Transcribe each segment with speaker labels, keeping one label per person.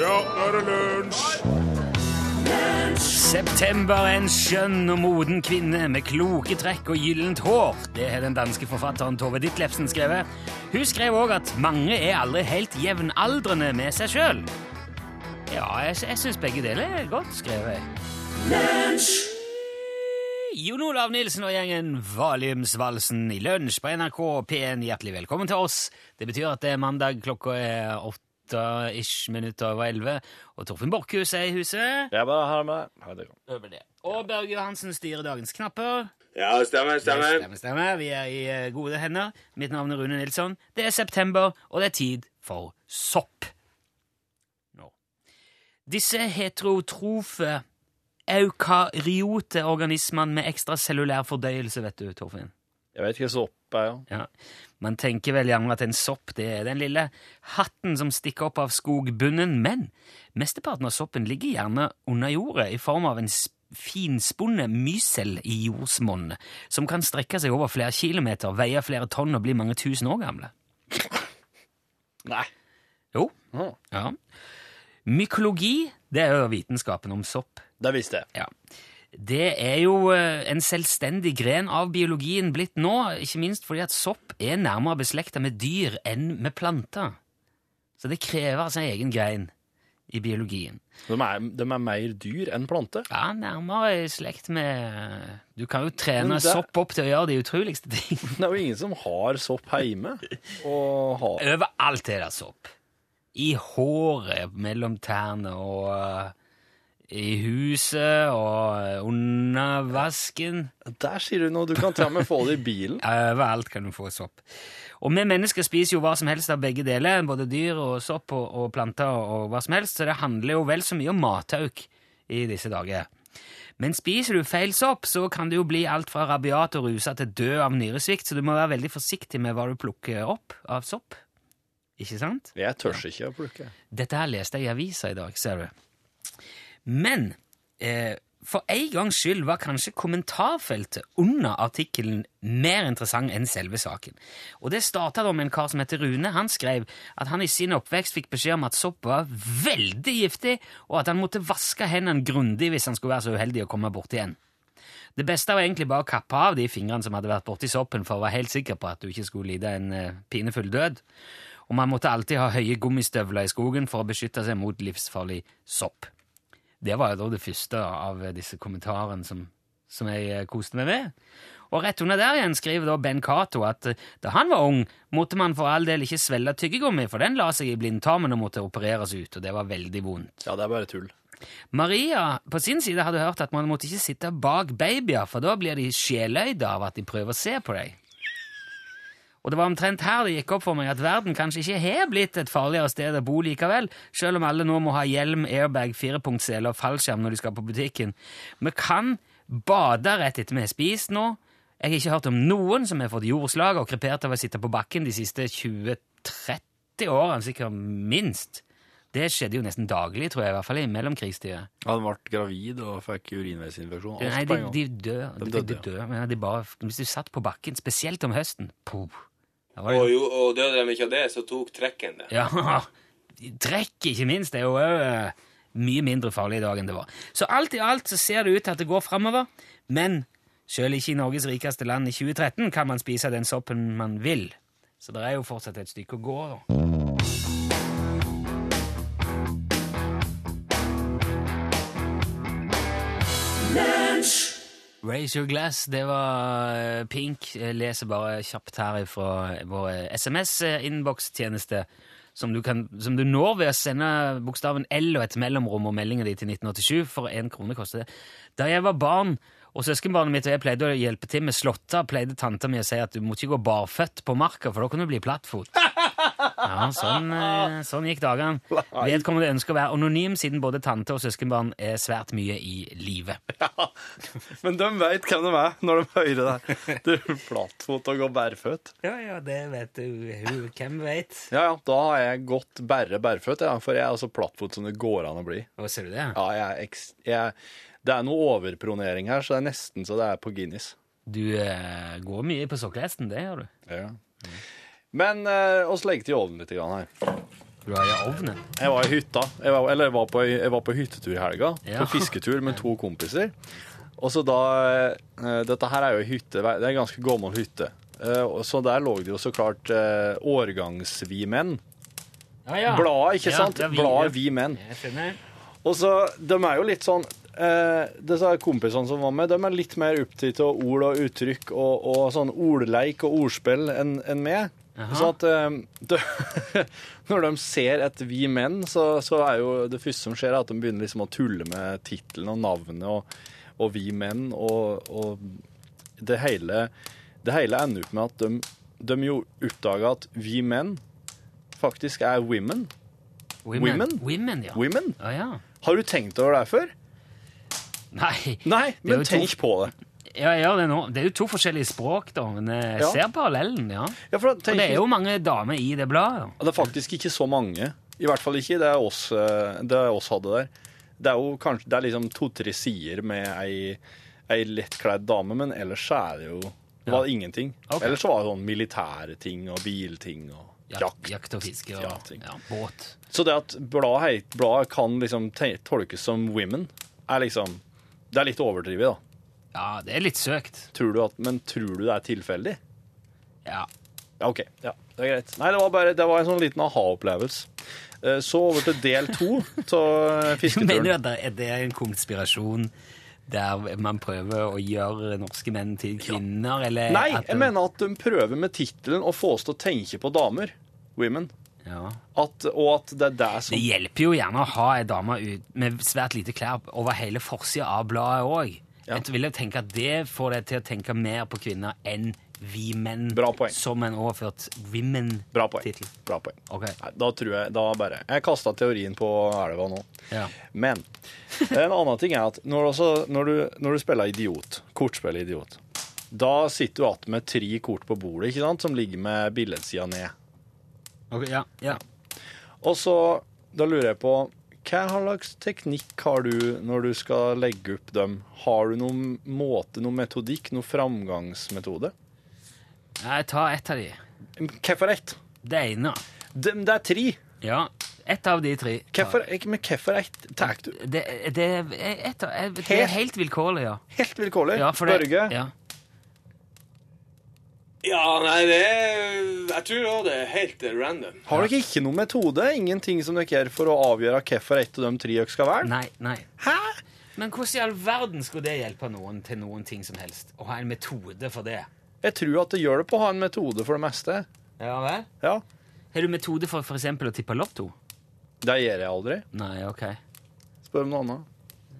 Speaker 1: nå er det lunsj!
Speaker 2: September er en skjønn og moden kvinne med kloke trekk og gyllent hår. Det har den danske forfatteren Tove Ditlevsen skrevet. Hun skrev òg at mange er aldri helt jevnaldrende med seg sjøl. Ja, jeg, jeg syns begge deler er godt skrevet. Jon Olav Nilsen og gjengen Valiumsvalsen i lunsj på NRK P1, hjertelig velkommen til oss. Det betyr at det er mandag, klokka er åtte ish minutter over elleve, og Torfinn Borchhus er i huset.
Speaker 3: Jeg bare har med ha det godt.
Speaker 2: over det. Og Børge Johansen styrer dagens knapper.
Speaker 1: Ja, stemmer, stemmer.
Speaker 2: Stemmer, stemmer. Vi er i eh, gode hender. Mitt navn er Rune Nilsson. Det er september, og det er tid for sopp. Nå. Disse heterotrofe eukaryote organismene med ekstracellulær fordøyelse, vet du, Torfinn.
Speaker 3: Jeg vet ikke hva som oppe er.
Speaker 2: Ja. Man tenker vel gjerne at en sopp det er den lille hatten som stikker opp av skogbunnen, men mesteparten av soppen ligger gjerne under jorda i form av en sp- finspunnet mysel i jordsmonnet, som kan strekke seg over flere kilometer, veie flere tonn og bli mange tusen år gamle.
Speaker 3: Nei.
Speaker 2: Jo,
Speaker 3: Å,
Speaker 2: ja. Mykologi, det er jo vitenskapen om sopp.
Speaker 3: Det visste jeg.
Speaker 2: Ja. Det er jo eh, en selvstendig gren av biologien blitt nå, ikke minst fordi at sopp er nærmere beslekta med dyr enn med planter. Så det krever altså en egen grein i biologien.
Speaker 3: De er, de er mer dyr enn planter.
Speaker 2: Ja, nærmere i slekt med eh, Du kan jo trene
Speaker 3: Men det-
Speaker 2: sopp opp til å gjøre de utroligste ting.
Speaker 3: Det er jo ingen som har sopp hjemme. Og har.
Speaker 2: Overalt er det sopp. I håret, mellom tærne og eh, i huset og eh, under vasken.
Speaker 3: Der sier du noe. Du kan til og med få det i bilen.
Speaker 2: Overalt kan du få sopp. Og vi mennesker spiser jo hva som helst av begge deler, både dyr og sopp og, og planter og hva som helst, så det handler jo vel så mye om matauk i disse dager. Men spiser du feil sopp, så kan det jo bli alt fra rabiat og rusa til død av nyresvikt, så du må være veldig forsiktig med hva du plukker opp av sopp. Ikke sant?
Speaker 3: Jeg tør ikke å plukke.
Speaker 2: Dette her leste jeg i avisa i dag, ser du. Men eh, for en gangs skyld var kanskje kommentarfeltet under artikkelen mer interessant enn selve saken. Og det starta da med en kar som heter Rune. Han skrev at han i sin oppvekst fikk beskjed om at sopp var veldig giftig, og at han måtte vaske hendene grundig hvis han skulle være så uheldig å komme borti en. Det beste var egentlig bare å kappe av de fingrene som hadde vært borti soppen, for å være helt sikker på at du ikke skulle lide en eh, pinefull død. Og man måtte alltid ha høye gummistøvler i skogen for å beskytte seg mot livsfarlig sopp. Det var jo da det første av eh, disse kommentarene som, som jeg eh, koste meg med. Og rett under der igjen skriver da Ben Cato at eh, da han var ung, måtte man for all del ikke svelge tyggegummi, for den la seg i blindtarmen og måtte opereres ut, og det var veldig vondt.
Speaker 3: Ja, det er bare tull.
Speaker 2: Maria på sin side hadde hørt at man måtte ikke sitte bak babyer, for da blir de sjeløyde av at de prøver å se på deg. Og det var omtrent her det gikk opp for meg at verden kanskje ikke har blitt et farligere sted å bo likevel, selv om alle nå må ha hjelm, airbag, firepunktssele og fallskjerm når de skal på butikken. Vi kan bade rett etter vi har spist nå. Jeg har ikke hørt om noen som har fått jordslag og krepert av å sitte på bakken de siste 20-30 årene, sikkert minst. Det skjedde jo nesten daglig, tror jeg, i hvert fall i mellomkrigstida.
Speaker 3: Han ble gravid og fikk urinveisinfeksjon. Alt
Speaker 2: Nei,
Speaker 3: på
Speaker 2: de,
Speaker 3: en gang.
Speaker 2: de dør. De,
Speaker 3: De
Speaker 2: de,
Speaker 3: døde,
Speaker 2: dør, men de bare, hvis du satt på bakken, spesielt om høsten Puh. Da var det-
Speaker 4: Og, jo, og døde de ikke av det, så tok trekken det.
Speaker 2: Ja, Trekk, ikke minst, er jo òg mye mindre farlig i dag enn det var. Så alt i alt så ser det ut til at det går framover, men sjøl ikke i Norges rikeste land i 2013 kan man spise den soppen man vil. Så det er jo fortsatt et stykke å gå. da. Raise your glass, det var eh, Pink. Jeg leser bare kjapt her fra vår eh, SMS-innbokstjeneste, som, du kan- som du når ved å sende bokstaven L og et mellomrom og meldingen din til 1987, for én krone koster det. Da jeg var barn, og søskenbarnet mitt og jeg pleide å hjelpe til med slåtta, pleide tanta mi å si at du må ikke gå barføtt på marka, for da kan du bli plattfot. Ja, sånn, eh, sånn gikk dagene. Vedkommende ønsker å være anonym, siden både tante og søskenbarn er svært mye i live.
Speaker 3: Men de veit hvem de er når de hører det. Du plattfot og går bærføtt.
Speaker 2: Ja, ja, det vet du. Hun, hvem vet?
Speaker 3: Ja, ja, da har jeg gått bare bærføtt, ja, for jeg er så plattfot som det går an å bli.
Speaker 2: Hva ser du det?
Speaker 3: Ja, jeg, er eks- jeg, det er noe overpronering her, så det er nesten så det er på Guinness.
Speaker 2: Du eh, går mye på sokkelesten, det gjør du.
Speaker 3: Men eh, oss legger til i ovnen litt grann her.
Speaker 2: skulle du ha i ovnen?
Speaker 3: Jeg var i hytta, jeg var, eller jeg var, på, jeg var på hyttetur i helga,
Speaker 2: Ja.
Speaker 3: på fisketur med to kompiser. Og så da, eh, dette her er jo en hytte, det er en ganske gammel hytte. Eh, og Så der lå det jo så klart eh, årgangsvimenn.
Speaker 2: Ja, ja.
Speaker 3: Bladet, ikke
Speaker 2: Ja,
Speaker 3: sant?
Speaker 2: det er vi,
Speaker 3: Bladet
Speaker 2: ja.
Speaker 3: Vi menn.
Speaker 2: Jeg skjønner.
Speaker 3: Og så, de er jo litt sånn eh, Disse her kompisene som var med, de er litt mer opptatt av ord og uttrykk og, og sånn ordleik og ordspill enn enn meg.
Speaker 2: Jaha.
Speaker 3: Så at eh, de, når de ser et Vi menn, så, så er jo det første som skjer, er at de begynner liksom å tulle med tittelen og navnet og, og Vi menn og, og det hele Det hele ender opp med at de, de jo oppdager at Vi menn faktisk er women.
Speaker 2: Women?
Speaker 3: Women?
Speaker 2: Women, ja.
Speaker 3: Women?
Speaker 2: Ja, ja.
Speaker 3: Har du tenkt over det før?
Speaker 2: Nei,
Speaker 3: Nei,
Speaker 2: Det er
Speaker 3: men
Speaker 2: jo to-
Speaker 3: tenk på det.
Speaker 2: ja, jeg gjør det nå. Det er jo to forskjellige språk, da, men eh, jeg
Speaker 3: Ja.
Speaker 2: ser parallellen, ja.
Speaker 3: Ja, for da
Speaker 2: Og
Speaker 3: tenker,
Speaker 2: det er jo mange damer i det bladet.
Speaker 3: det er faktisk ikke så mange. I hvert fall ikke det er oss, eh, det er oss hadde der. Det er jo kanskje, det er liksom to-tre sider med ei, ei lettkledd dame, men ellers så er det jo det var ingenting.
Speaker 2: Ok.
Speaker 3: Ellers så var det sånn militære ting og bilting og
Speaker 2: Ja,
Speaker 3: jakt.
Speaker 2: Jakt og fiske og
Speaker 3: Ja, ting.
Speaker 2: ja, båt.
Speaker 3: Så det at bladet heit- bladet kan liksom te- tolkes som women, er liksom Det er litt overdrevet, da.
Speaker 2: Ja, det er litt søkt.
Speaker 3: Tror du at, men tror du det er tilfeldig?
Speaker 2: Ja.
Speaker 3: Ja, ok. Ja, det er greit. Nei, det var, bare, det var en sånn liten aha-opplevelse. Eh, Så over til del to av
Speaker 2: Mener du
Speaker 3: fisketuren.
Speaker 2: at det er- det er en konspirasjon der man prøver å gjøre norske menn til kvinner, eller
Speaker 3: Nei,
Speaker 2: at
Speaker 3: jeg mener at de prøver med tittelen å få oss til å tenke på damer. Women.
Speaker 2: ja.
Speaker 3: At, og at det er sånn. det
Speaker 2: Det
Speaker 3: som
Speaker 2: hjelper jo gjerne å ha ei dame ut med svært lite klær over hele forsida av bladet òg.
Speaker 3: Ja.
Speaker 2: Jeg vil jo tenke at Det får deg til å tenke mer på kvinner enn vi menn.
Speaker 3: Bra poeng.
Speaker 2: Som en overført
Speaker 3: Bra poeng.
Speaker 2: women-tittel.
Speaker 3: Bra poeng.
Speaker 2: Ok.
Speaker 3: Nei, da tror jeg Da bare Jeg kasta teorien på elva nå.
Speaker 2: Ja.
Speaker 3: Men en annen ting er at når, også, når, du, når du spiller idiot, kortspiller idiot, da sitter du igjen med tre kort på bordet ikke sant, som ligger med billedsida ned.
Speaker 2: Ok, ja, ja.
Speaker 3: Og så, da lurer jeg på hva slags teknikk har du når du skal legge opp dem? Har du noen måte, noen metodikk, noen framgangsmetode?
Speaker 2: Jeg tar ett av de.
Speaker 3: Hvorfor ett?
Speaker 2: Det ene.
Speaker 3: Det, det er tre.
Speaker 2: Ja, ett av de tre.
Speaker 3: Hvorfor men hvorfor ett? Takk du.
Speaker 2: Det, det, er ett av, jeg- det er helt vilkårlig, ja.
Speaker 3: Helt vilkårlig.
Speaker 2: ja for det,
Speaker 3: Børge,
Speaker 2: Ja.
Speaker 4: Ja, nei, det er Jeg tror òg det er helt random.
Speaker 3: har dere ikke noen metode? Ingenting som dere gjør for å avgjøre hvorfor ett av de tre dere skal velge?
Speaker 2: Nei, nei. Men hvordan i all verden skulle det hjelpe noen til noen ting som helst? Å ha en metode for det?
Speaker 3: Jeg tror at det gjør det på å ha en metode for det meste.
Speaker 2: Ja vel?
Speaker 3: Ja,
Speaker 2: Har du metode for f.eks. å tippe lotto?
Speaker 3: Det gjør jeg aldri.
Speaker 2: Nei, ok.
Speaker 3: Spør om noe annet.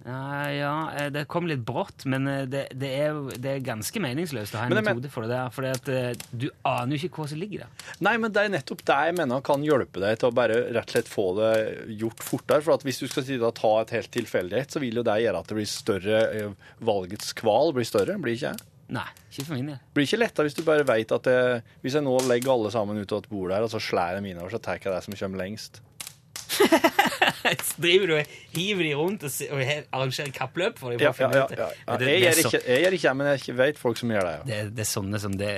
Speaker 2: Ja, ja, eh, det kom litt brått, men eh, det, det, er, jo- det er ganske meningsløst å ha en
Speaker 3: Men jeg men-
Speaker 2: metode for det der, for du aner jo ikke hva som ligger der.
Speaker 3: Nei, men det er nettopp det jeg mener kan hjelpe deg til å bare rett og slett få det gjort fortere. For at hvis du skal sitte og ta et helt tilfeldighet, så vil jo det gjøre at det blir større eh, valgets kval blir større. Blir ikke det?
Speaker 2: Nei, ikke for min del.
Speaker 3: Blir ikke letta hvis du bare veit at det, Hvis jeg nå legger alle sammen ut av et bord her, og så slår jeg mine over, så tar jeg det som kommer lengst.
Speaker 2: Driver du og hiver de rundt og, se- og he- arrangerer kappløp for dem?
Speaker 3: Ja,
Speaker 2: for
Speaker 3: ja,
Speaker 2: å finne
Speaker 3: ja,
Speaker 2: ut
Speaker 3: ja.
Speaker 2: Men Det,
Speaker 3: Jeg
Speaker 2: det,
Speaker 3: gjør
Speaker 2: er så,
Speaker 3: ikke jeg gjør ikke det, men jeg veit folk som gjør det. ja.
Speaker 2: det, det er sånne som det,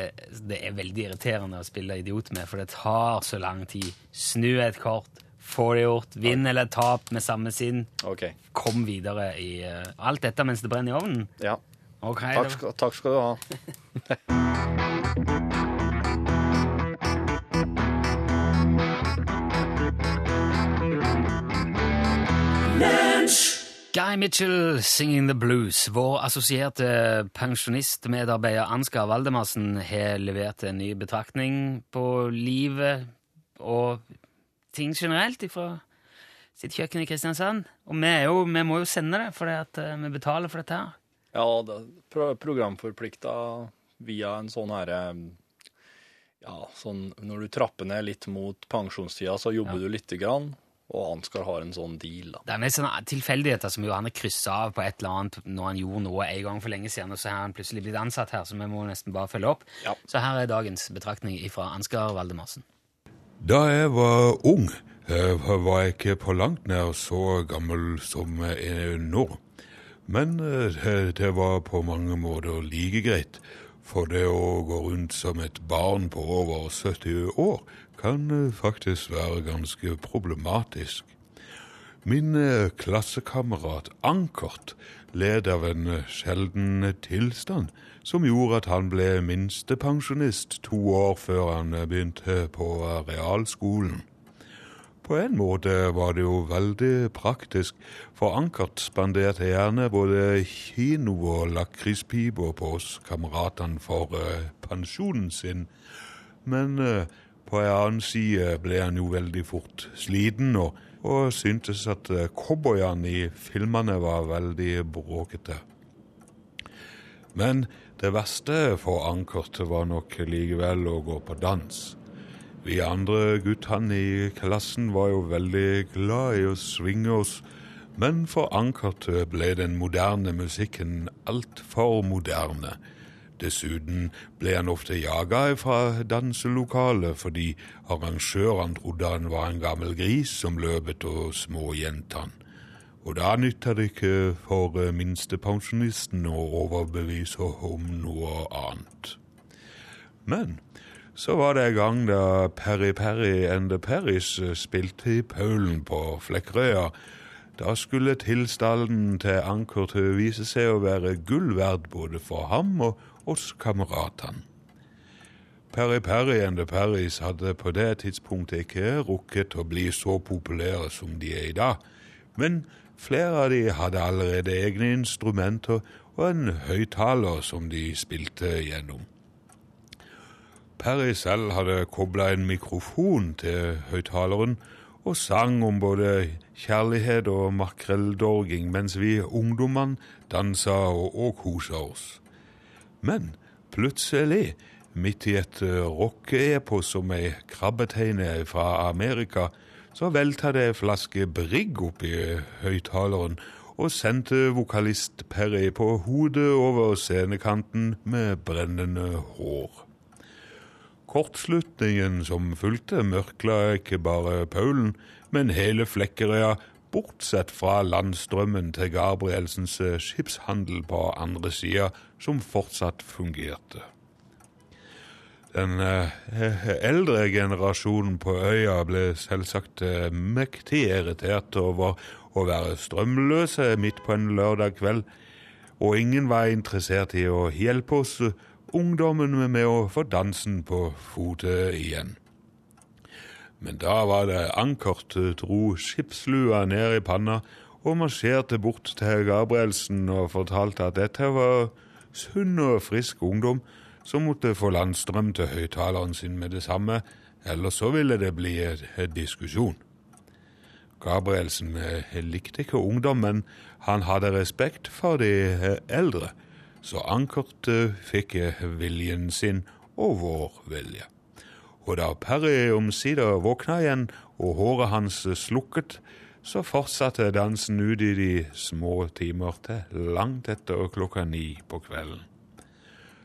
Speaker 2: det er veldig irriterende å spille idiot med, for det tar så lang tid. Snu et kort, få det gjort, vinn eller tap med samme sinn.
Speaker 3: OK.
Speaker 2: Kom videre i eh, alt dette mens det brenner i ovnen.
Speaker 3: Ja.
Speaker 2: Ok, det-
Speaker 3: Takk, skal- takk skal du ha.
Speaker 2: Guy Mitchell singing the blues. Vår assosierte pensjonistmedarbeider Ansgar Valdemarsen har levert en ny betraktning på livet og ting generelt fra sitt kjøkken i Kristiansand. Og vi, er jo, vi må jo sende det, for vi betaler for dette her.
Speaker 3: Ja, det er pro- programforplikta via en sånn herre Ja, sånn når du trapper ned litt mot pensjonstida, så jobber du lite grann, og Ansgar har en sånn deal, da.
Speaker 2: Det er mer sånne eh, tilfeldigheter som jo han har kryssa av på et eller annet når han gjorde noe en gang for lenge siden, og så har han plutselig blitt ansatt her, så vi må nesten bare følge opp.
Speaker 3: Ja.
Speaker 2: Så her er dagens betraktning fra Ansgar Valdemarsen.
Speaker 5: Da jeg var ung, eh, var jeg ikke på langt nær så gammel som jeg eh, er nå. Men eh, det det var på mange måter like greit, For det å gå rundt som et barn på over 70 år kan eh, faktisk være ganske problematisk. Min eh, klassekamerat Ankert led av en eh, sjelden tilstand som gjorde at han ble minstepensjonist to år før han eh, begynte på eh, realskolen. På en måte var det jo veldig praktisk, for Ankert spanderte gjerne både kino og lakrispiper på oss kameratene for eh, pensjonen sin. Men eh, på en annen side ble han jo veldig fort sliten, og, og syntes at eh, cowboyene i filmene var veldig bråkete. Men det verste for Ankert var nok likevel å gå på dans. Vi andre guttene i klassen var jo veldig glad i å svinge oss, men for Ankert ble den moderne musikken altfor moderne. Dessuten ble han ofte jaga fra danselokalet fordi arrangørene trodde han var en gammel gris som løpet og småjentene. Og da nytta det ikke for eh, minstepensjonisten å overbevise om noe annet. Men så var det en gang da Perry Perry and the Perrys eh, spilte i Paulen på Flekkerøya. Da skulle tilstanden til Ankert vise seg å være gull verd både for ham og oss kameratene. Perry Perry and the Perrys hadde på det tidspunktet ikke rukket å bli så populære som de er i dag, men flere av de hadde allerede egne instrumenter og en høyttaler som de spilte gjennom. Perry selv hadde kobla en mikrofon til høyttaleren og sang om både kjærlighet og makrelldorging mens vi ungdommene dansa og, og kosa oss. Men plutselig, midt i et eh, rockeepos om ei krabbeteine fra Amerika, så velta det ei flaske Brigg opp i høyttaleren og sendte vokalist Perry på hodet over scenekanten med brennende hår. Kortslutningen som fulgte, mørkla ikke bare Paulen, men hele Flekkerøya, bortsett fra landstrømmen til Gabrielsens eh, skipshandel på andre sida, som fortsatt fungerte. Den eh, eh, eldre generasjonen på øya ble selvsagt eh, mektig irritert over å være strømløse midt på en lørdag kveld, og ingen var interessert i å hjelpe oss eh, ungdommen med å få dansen på fote igjen. Men da var det Ankert eh, dro skipslua ned i panna og marsjerte bort til Gabrielsen og fortalte at dette var sunn og frisk ungdom som måtte få landstrøm til høyttaleren sin med det samme, ellers så ville det bli en en diskusjon. Gabrielsen eh, likte ikke ungdommen, han hadde respekt for de eh, eldre, så Ankert eh, fikk eh, viljen sin og vår vilje. Og da Perry omsider våkna igjen og håret hans eh, slukket, så fortsatte dansen ut i de små timer til langt etter klokka ni på kvelden.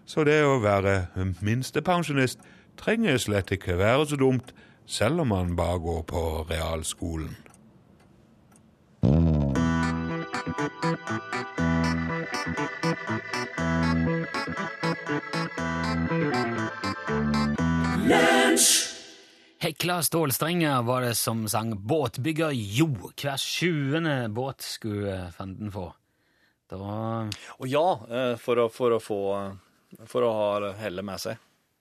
Speaker 5: Så det å være eh, minstepensjonist trenger slett ikke være så dumt, selv om man bare går på realskolen.
Speaker 6: Hekla stålstrenger var det som sang Båtbygger Jo. Hver tjuende båt skulle eh, fanden få. Da
Speaker 3: Og ja, eh, for å, for å få eh, For å ha hellet med seg.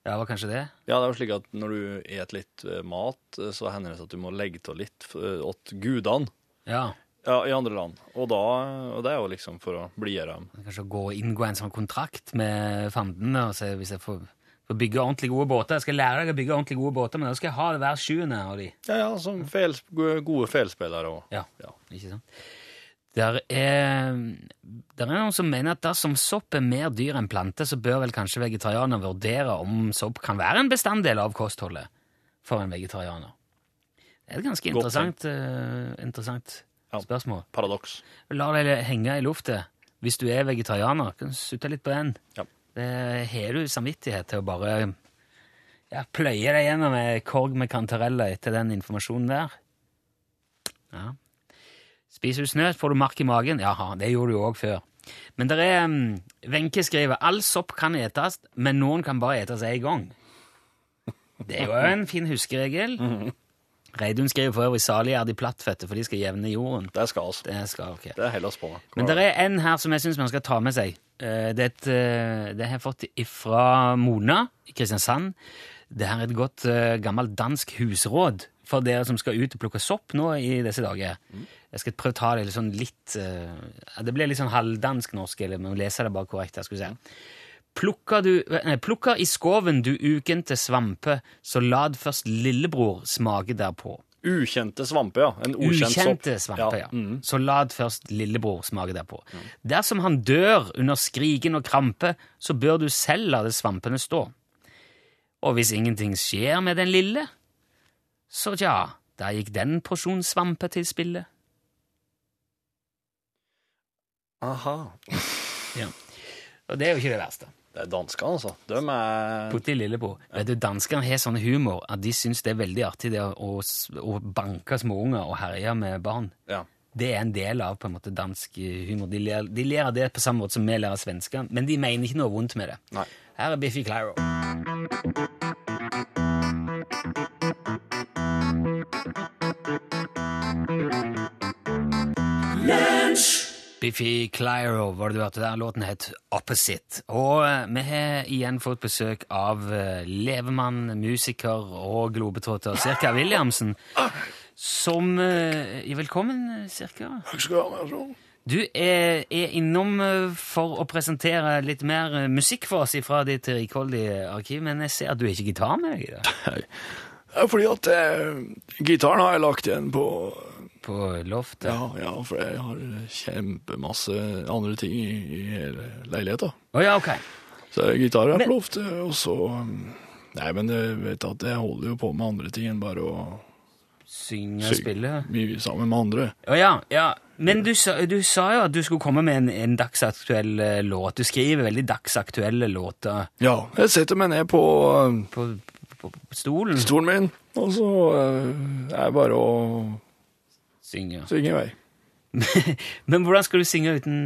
Speaker 6: Ja, det var kanskje det?
Speaker 3: Ja, det er jo slik at når du et litt eh, mat, eh, så hender det seg at du må legge til litt eh, åt gudene
Speaker 6: Ja.
Speaker 3: ja, i andre land. Og, da, og det er jo liksom for å blidgjøre dem.
Speaker 6: Kanskje å gå og inngå en sånn kontrakt med fanden og se hvis jeg får, får bygge ordentlig gode båter. Jeg skal lære deg å bygge ordentlig gode båter, men da skal jeg ha det hver sjuende av de.
Speaker 3: Ja, ja, som fels, gode felspillere og
Speaker 6: Ja,
Speaker 3: Ja.
Speaker 6: ikke sant? Der er, der er noen som mener at dersom sopp er mer dyr enn plante, så bør vel kanskje vegetarianer vurdere om sopp kan være en bestanddel av kostholdet for en vegetarianer. Det er et ganske
Speaker 3: Godt
Speaker 6: interessant, eh, interessant
Speaker 3: Ja.
Speaker 6: spørsmål.
Speaker 3: paradoks.
Speaker 6: La det henge i luftet. Hvis du er vegetarianer, kan du sutte litt på den.
Speaker 3: Ja.
Speaker 6: Det har du samvittighet til å bare ja, pløye deg gjennom en korg med kantareller etter den informasjonen der. Ja. Spiser du snø, får du mark i magen. Jaha, det gjorde du jo òg før.
Speaker 2: Men der er mm, Wenche skriver all sopp kan etes, men noen kan bare etes én gang. Det er jo en fin huskeregel. Reidun skriver for øvrig salig er de plattføtte, for de skal jevne jorden.
Speaker 7: Det skal altså.
Speaker 2: Det skal ok.
Speaker 7: Det er Hellas på.
Speaker 2: Men det er en her som jeg syns man skal ta med seg. Eh, Det, er et, eh, det har jeg fått fra Mona i Kristiansand. Det her er et godt eh, gammelt dansk husråd for dere som skal ut og plukke sopp nå i disse dager. Jeg skal prøve å ta det litt sånn litt eh, ja, Det blir litt sånn halvdansk-norsk, eller man leser det bare korrekt. jeg skulle si. Plukker, du, nei, plukker i skoven du ukente svampe, så la først lillebror smake derpå.
Speaker 7: Ukjente svampe, ja. En ukjent sopp. Mm.
Speaker 2: Ukjente svamper, ja. Så la først lillebror smake derpå. Dersom han dør under skriken og krampe, så bør du selv la det svampene stå. Og hvis ingenting skjer med den lille, så tja, der gikk den porsjon svampe til spille.
Speaker 7: Aha.
Speaker 2: Og det er jo ikke det verste.
Speaker 7: Det er danskene, altså. De er
Speaker 2: Putti lillebror. Vet du, Danskene har sånn humor at de syns det er veldig artig det å, å, s- å banke småunger og herje med barn.
Speaker 7: ja.
Speaker 2: det er en del av på en måte dansk eh, humor. De ler, de ler av det på samme måte som vi ler av svensker, men de mener ikke noe vondt med det.
Speaker 7: Nei.
Speaker 2: Her er Biffy Clyro. Biffy Clyro var det du hørte der. Låten het Opposite. Og eh, vi har igjen fått besøk av eh, levemann, musiker og globetrotter Cirka Williamsen. Som eh, er Velkommen, eh, Cirka.
Speaker 3: Takk skal du ha. sånn? Vær så god.
Speaker 2: Du er, er innom eh, for å presentere litt mer eh, musikk for oss fra ditt rikholdige arkiv, men jeg ser at du er ikke gitar med deg i dag.
Speaker 3: Det er fordi at eh, gitaren har jeg lagt igjen på
Speaker 2: På loftet.
Speaker 3: ja, ja, for jeg har kjempemasse andre ting i, i hele leiligheta.
Speaker 2: Å ja, ok.
Speaker 3: Så gitar er
Speaker 2: Men-
Speaker 3: på loftet, og så um, Nei, men jeg vet at jeg holder jo på med andre ting enn bare å
Speaker 2: Synge og
Speaker 3: Syng.
Speaker 2: spille.
Speaker 3: bli sammen med andre.
Speaker 2: Å ja, ja. Men du sa, du sa jo at du skulle komme med en, en dagsaktuell eh, låt. Du skriver veldig dagsaktuelle låter
Speaker 3: Ja, jeg setter meg ned på um,
Speaker 2: på, på, på stolen.
Speaker 3: stolen min, og så eh, er det bare å
Speaker 2: Synge.
Speaker 3: synge i vei.
Speaker 2: Men hvordan skal du synge uten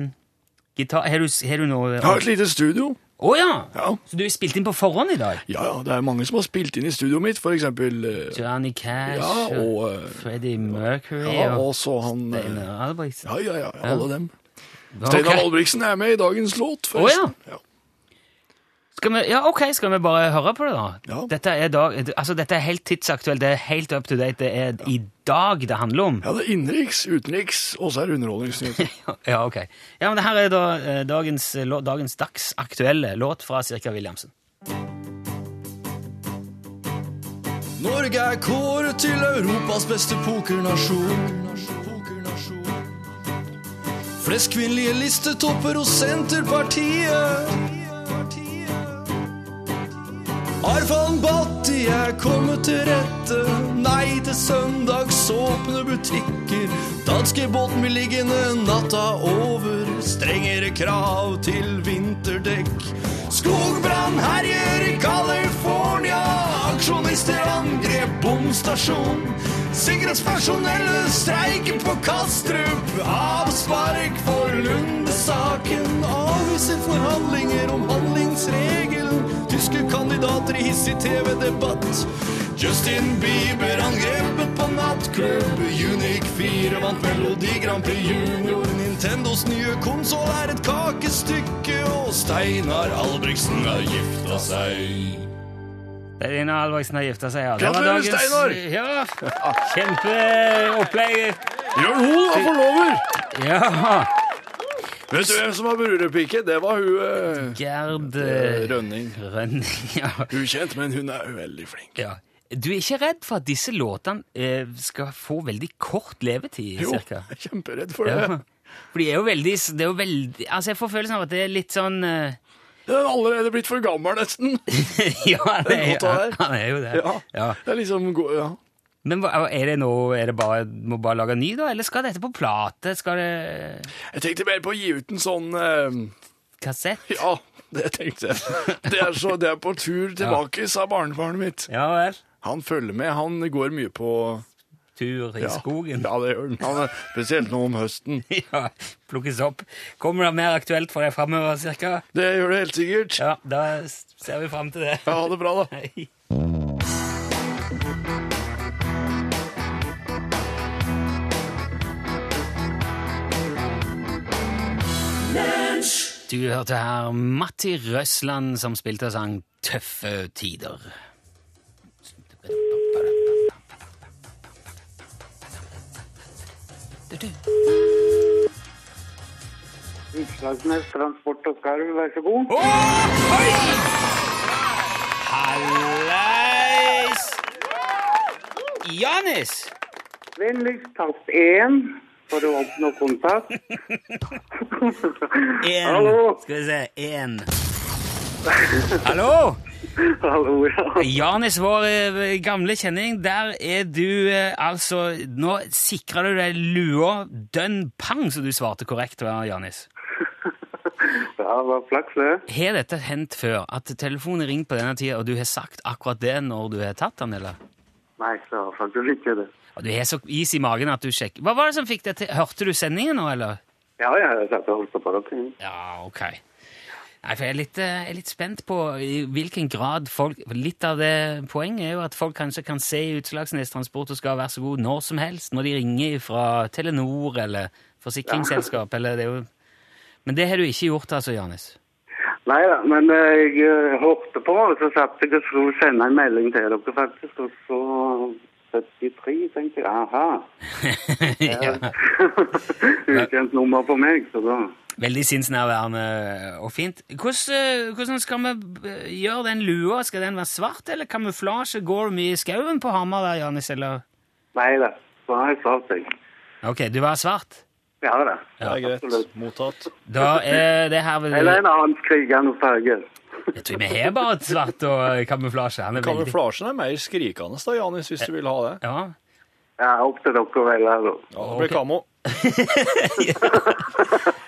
Speaker 2: gitar? Har du, har du noe
Speaker 3: Jeg har et lite studio.
Speaker 2: Å ja!
Speaker 3: Ja.
Speaker 2: Så du har spilt inn på forhånd i dag?
Speaker 3: ja, ja, det er mange som har spilt inn i studioet mitt, for eksempel eh,
Speaker 2: Johnny Cash
Speaker 3: Ja, og eh,
Speaker 2: Freddie Mercury
Speaker 3: Ja,
Speaker 2: og
Speaker 3: og så han eh,
Speaker 2: Steinar Albrigtsen.
Speaker 3: Ja, ja, ja, alle dem.
Speaker 2: Ok.
Speaker 3: Steinar Albrigtsen er med i dagens låt, forresten. ja.
Speaker 2: Skal vi, ja, ok, skal vi bare høre på det, da?
Speaker 3: Ja.
Speaker 2: Dette, er dag, altså, dette er helt tidsaktuelt, det er helt up to date, det er i dag det handler om.
Speaker 3: Ja, det er innenriks, utenriks, og så er det underholdningsnyheter.
Speaker 2: Ja, ok. Ja, men det her er da eh, dagens, eh, lå- dagens dagsaktuelle låt fra Cirka Williamsen.
Speaker 4: Norge er kåret til Europas beste pokernasjon. Flest kvinnelige listetopper hos Senterpartiet. Arfan Bhatti er kommet til rette. Nei til søndagsåpne butikker. Danskebåten blir liggende natta over. Strengere krav til vinterdekk. Skogbrann herjer i California. Aksjonister angrep bomstasjon. Sikkerhetspersonellet streiker på Kastrup. Avspark for Lunde-saken. Avviser forhandlinger om handlingsregelen. Tyske kandidater i hissig TV-debatt. Justin Bieber angrepet på nattklubb. Unique 4 vant Melodi Grand Prix Junior. Nintendos nye konsoll er et kakestykke. Og Steinar Albrigtsen har gifta seg.
Speaker 2: Steinar Albrigtsen har gifta seg, ja. Det var
Speaker 3: Gratulerer,
Speaker 2: dagens-
Speaker 3: Steinar!
Speaker 2: Ja, Kjempeopplegg.
Speaker 3: Jørn Hoel var forlover!
Speaker 2: Ja.
Speaker 3: Vet du hvem som var brudepike? Det var hun eh,
Speaker 2: Gerd
Speaker 3: eh,
Speaker 2: eh,
Speaker 3: Rønning.
Speaker 2: Rønning. Ja.
Speaker 3: Ukjent, men hun er veldig flink.
Speaker 2: Ja. Du er ikke redd for at disse låtene eh, skal få veldig kort levetid?
Speaker 3: Jo, jeg
Speaker 2: cirka?
Speaker 3: er kjemperedd for det.
Speaker 2: Ja. For de er jo veldig, det er jo veldig Altså, jeg får følelsen av at det er litt sånn eh,
Speaker 3: Den er allerede blitt for gammel, nesten.
Speaker 2: Ja, det er,
Speaker 3: låta der.
Speaker 2: han er jo det.
Speaker 3: Ja.
Speaker 2: Ja.
Speaker 3: Det er liksom go- ja.
Speaker 2: Men hva- er det nå er det bare, Må bare lage en ny, da? Eller skal dette på plate? Skal det
Speaker 3: Jeg tenkte mer på å gi ut en sånn eh,
Speaker 2: Kassett?
Speaker 3: Ja, det tenkte jeg. Det er, så, det er på tur tilbake, sa barnebarnet mitt.
Speaker 2: Ja vel.
Speaker 3: Han følger med, han går mye på
Speaker 2: tur i skogen.
Speaker 8: Ja, det gjør den. Han er- Spesielt nå om høsten.
Speaker 2: Ja, plukkes opp. Kommer det mer aktuelt for deg framover, cirka?
Speaker 8: Det gjør det helt sikkert.
Speaker 2: Ja, da s- ser vi fram til det.
Speaker 8: Ja, ha det bra, da.
Speaker 2: Hei. Du hørte her Matti Røsland som spilte og sang Tøffe tider.
Speaker 9: Utslagsnes Transport og Skarv, vær så god.
Speaker 2: Halleis! Janis!
Speaker 9: Vennligst tast 1 for å oppnå kontakt.
Speaker 2: En.
Speaker 9: Hallo.
Speaker 2: Skal vi se, en. Hallo!
Speaker 9: Hallo, ja.
Speaker 2: Janis, vår eh, gamle kjenning, der er du eh, altså Nå sikra du deg lua dønn pang, så du svarte korrekt, hva, Janis.
Speaker 9: Ja, det var flaks, det.
Speaker 2: Har dette hendt før? At telefonen ringer på denne tida, og du har sagt akkurat det når du har tatt den, eller?
Speaker 9: Nei, det var faktisk ikke det.
Speaker 2: Og du har så is i magen at du sjekker Hva var det som fikk deg til Hørte du sendingen nå, eller?
Speaker 9: Ja, ja, jeg satt og holdt på det.
Speaker 2: Ja, ok. Nei, for jeg er litt, eh, jeg er litt spent på i hvilken grad folk Litt av det poenget er jo at folk kanskje kan se i Utslagsnes Transport og skal være så god når som helst, når de ringer fra Telenor eller forsikringsselskap eller det er jo Men det har du ikke gjort, altså, Janis?
Speaker 9: Nei da, men eh, jeg eh, hørte på, og så satt jeg og skulle sende en melding til dere, faktisk. Og så 73 tenkte jeg, aha.
Speaker 2: ja.
Speaker 9: Ukjent nummer for meg, så da.
Speaker 2: Veldig sinnsnærværende eh, og fint. Hvordan, eh, hvordan skal vi eh, gjøre den lua? Skal den være svart, eller kamuflasje? Går det mye i skauen på Hamar der, Janis, eller?
Speaker 9: Nei da, så har jeg svart deg.
Speaker 2: Ok, du var svart.
Speaker 9: Ja da.
Speaker 3: Det er greit.
Speaker 9: absolutt.
Speaker 3: Mottatt.
Speaker 2: Da er det herved
Speaker 9: Eller en annen krigende farge.
Speaker 2: Jeg tror vi har bare et svart og kamuflasje. Han er veldig...
Speaker 3: Kamuflasjen er mer skrikende, da, Janis, hvis du vil ha det.
Speaker 2: Ja.
Speaker 9: Ja, opp til dere å velge, da.
Speaker 3: Ja, det blir kamo.